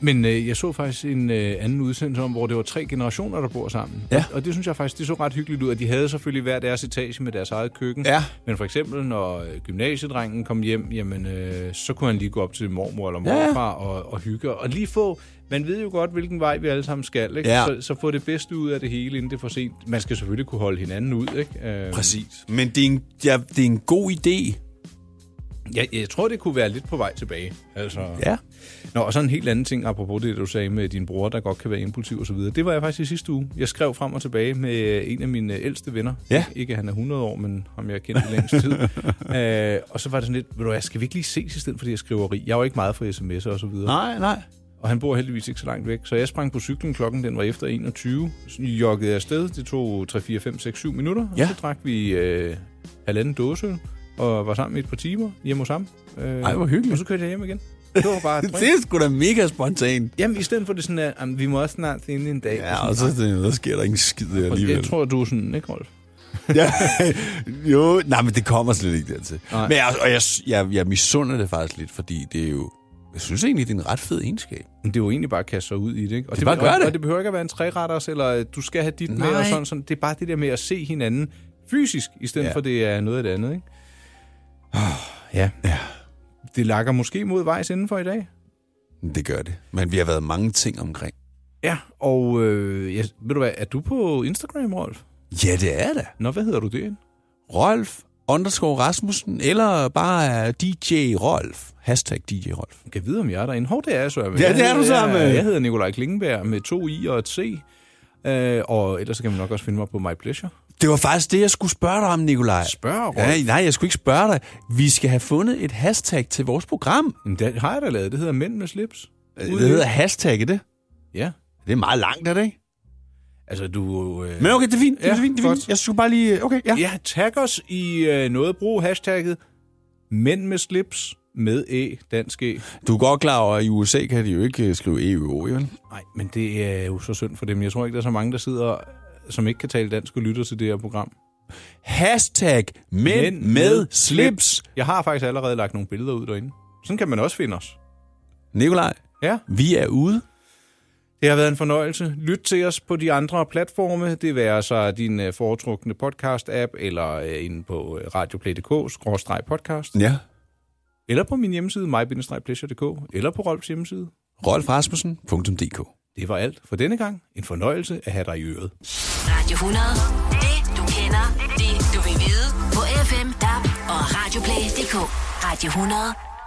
Men øh, jeg så faktisk en øh, anden udsendelse om, hvor det var tre generationer, der bor sammen.
Ja.
Og, og det synes jeg faktisk, det så ret hyggeligt ud, at de havde selvfølgelig hver deres etage med deres eget køkken.
Ja.
Men for eksempel, når øh, gymnasiedrengen kom hjem, jamen, øh, så kunne han lige gå op til mormor eller
Ja.
morfar og, og hygge. Og lige få, man ved jo godt, hvilken vej vi alle sammen skal, ikke?
Ja.
Så, så få det bedste ud af det hele, inden det er for sent. Man skal selvfølgelig kunne holde hinanden ud, ikke? Øh,
Præcis. Men det er en, ja, det er en god idé.
jeg, jeg tror, det kunne være lidt på vej tilbage. Altså,
Ja.
Nå, og så en helt anden ting, apropos det, du sagde med din bror, der godt kan være impulsiv osv. Det var jeg faktisk i sidste uge. Jeg skrev frem og tilbage med øh, en af mine ældste venner.
Ja.
Ikke, at han er 100 år, men ham jeg kendte i længst tid. øh, og så var det sådan lidt, ved du hvad, skal vi ikke lige ses i stedet for det her skriveri? Jeg er jo ikke meget for sms'er og så videre.
Nej, nej.
Og han bor heldigvis ikke så langt væk. Så jeg sprang på cyklen, klokken den var efter 21. Så joggede jeg afsted, det tog 3, 4, 5, 6, 7 minutter. Og
Ja.
så drak vi øh, halvanden dåse og var sammen i et par timer hjemme hos ham. Øh,
Ej, hvor hyggeligt.
Og så kørte jeg hjem igen. Det var bare et drink.
Mm. Det er sgu da mega spontant.
Jamen, i stedet for det sådan, at jamen, vi må også snart finde en dag.
Ja, og så, så sker der ingen skid
og
alligevel.
jeg tror, du er sådan, ikke Rolf?
ja, jo, nej, men det kommer slet ikke dertil.
Nej.
Men jeg, og jeg, jeg, jeg misunder det faktisk lidt, fordi det er jo... Jeg synes egentlig, det er en ret fed egenskab.
Men det er jo egentlig bare at kaste sig ud i det, ikke? Og
Det er bare at gøre
og,
det.
Og det behøver ikke at være en træretters, eller øh, du skal have dit med,
Nej.
og sådan, sådan. Det er bare det der med at se hinanden fysisk, i stedet
Ja. Ah,
ja. for det er noget af det andet, ikke? Oh, ja. ja. Det lakker måske mod vejs inden for i dag.
Det gør det. Men vi har været mange ting omkring.
Ja, og øh, jeg, ved du hvad, er du på Instagram, Rolf?
Ja, det er da.
Nå, hvad hedder du det?
Rolf underscore Rasmussen, eller bare øh, DJ Rolf. Hashtag DJ Rolf.
Jeg kan vide, om jeg er derinde. Hov, det er jeg, Sørme.
Ja,
Jeg
det er du,
hedder-
Sørme.
Jeg, jeg hedder Nikolaj Klingenberg med to i og et c. Øh, og ellers så kan man nok også finde mig på My Pleasure.
Det var faktisk det, jeg skulle spørge dig om, Nikolaj.
Spørg, Rolf.
Nej, nej, jeg skulle ikke spørge dig. Vi skal have fundet et hashtag til vores program.
Men det har jeg da lavet. Det hedder Mænd med slips.
Det hedder hashtag, det.
Ja.
Det er meget langt, er det ikke?
Altså, du... Øh...
Men okay, det er fint. Det er
Ja,
fint, det er fint.
godt.
Jeg skulle bare lige... Okay, ja.
Ja, tag os i øh, noget. Brug hashtagget Mænd med slips med E, dansk E.
Du er godt klar over, at i USA kan de jo ikke øh, skrive EU, vel?
Nej, men det er jo så synd for dem. Jeg tror ikke, der er så mange, der sidder som ikke kan tale dansk og lytter til det her program.
Hashtag mænd med slips.
Jeg har faktisk allerede lagt nogle billeder ud derinde. Sådan kan man også finde os.
Nikolaj,
Ja.
vi er ude.
Det har været en fornøjelse. Lyt til os på de andre platforme. Det være så din øh, foretrukne podcast-app, eller øh, inde på øh, radioplay.dk-podcast,
Ja.
eller på min hjemmeside, my-pleasure.dk, eller på Rolfs hjemmeside.
Rolfrasmussen.dk
Det var alt for denne gang. En fornøjelse at have dig i øret.
Radio 100. Det du kender, det du vil vide. På FM, DAB og Radioplay.dk. Radio 100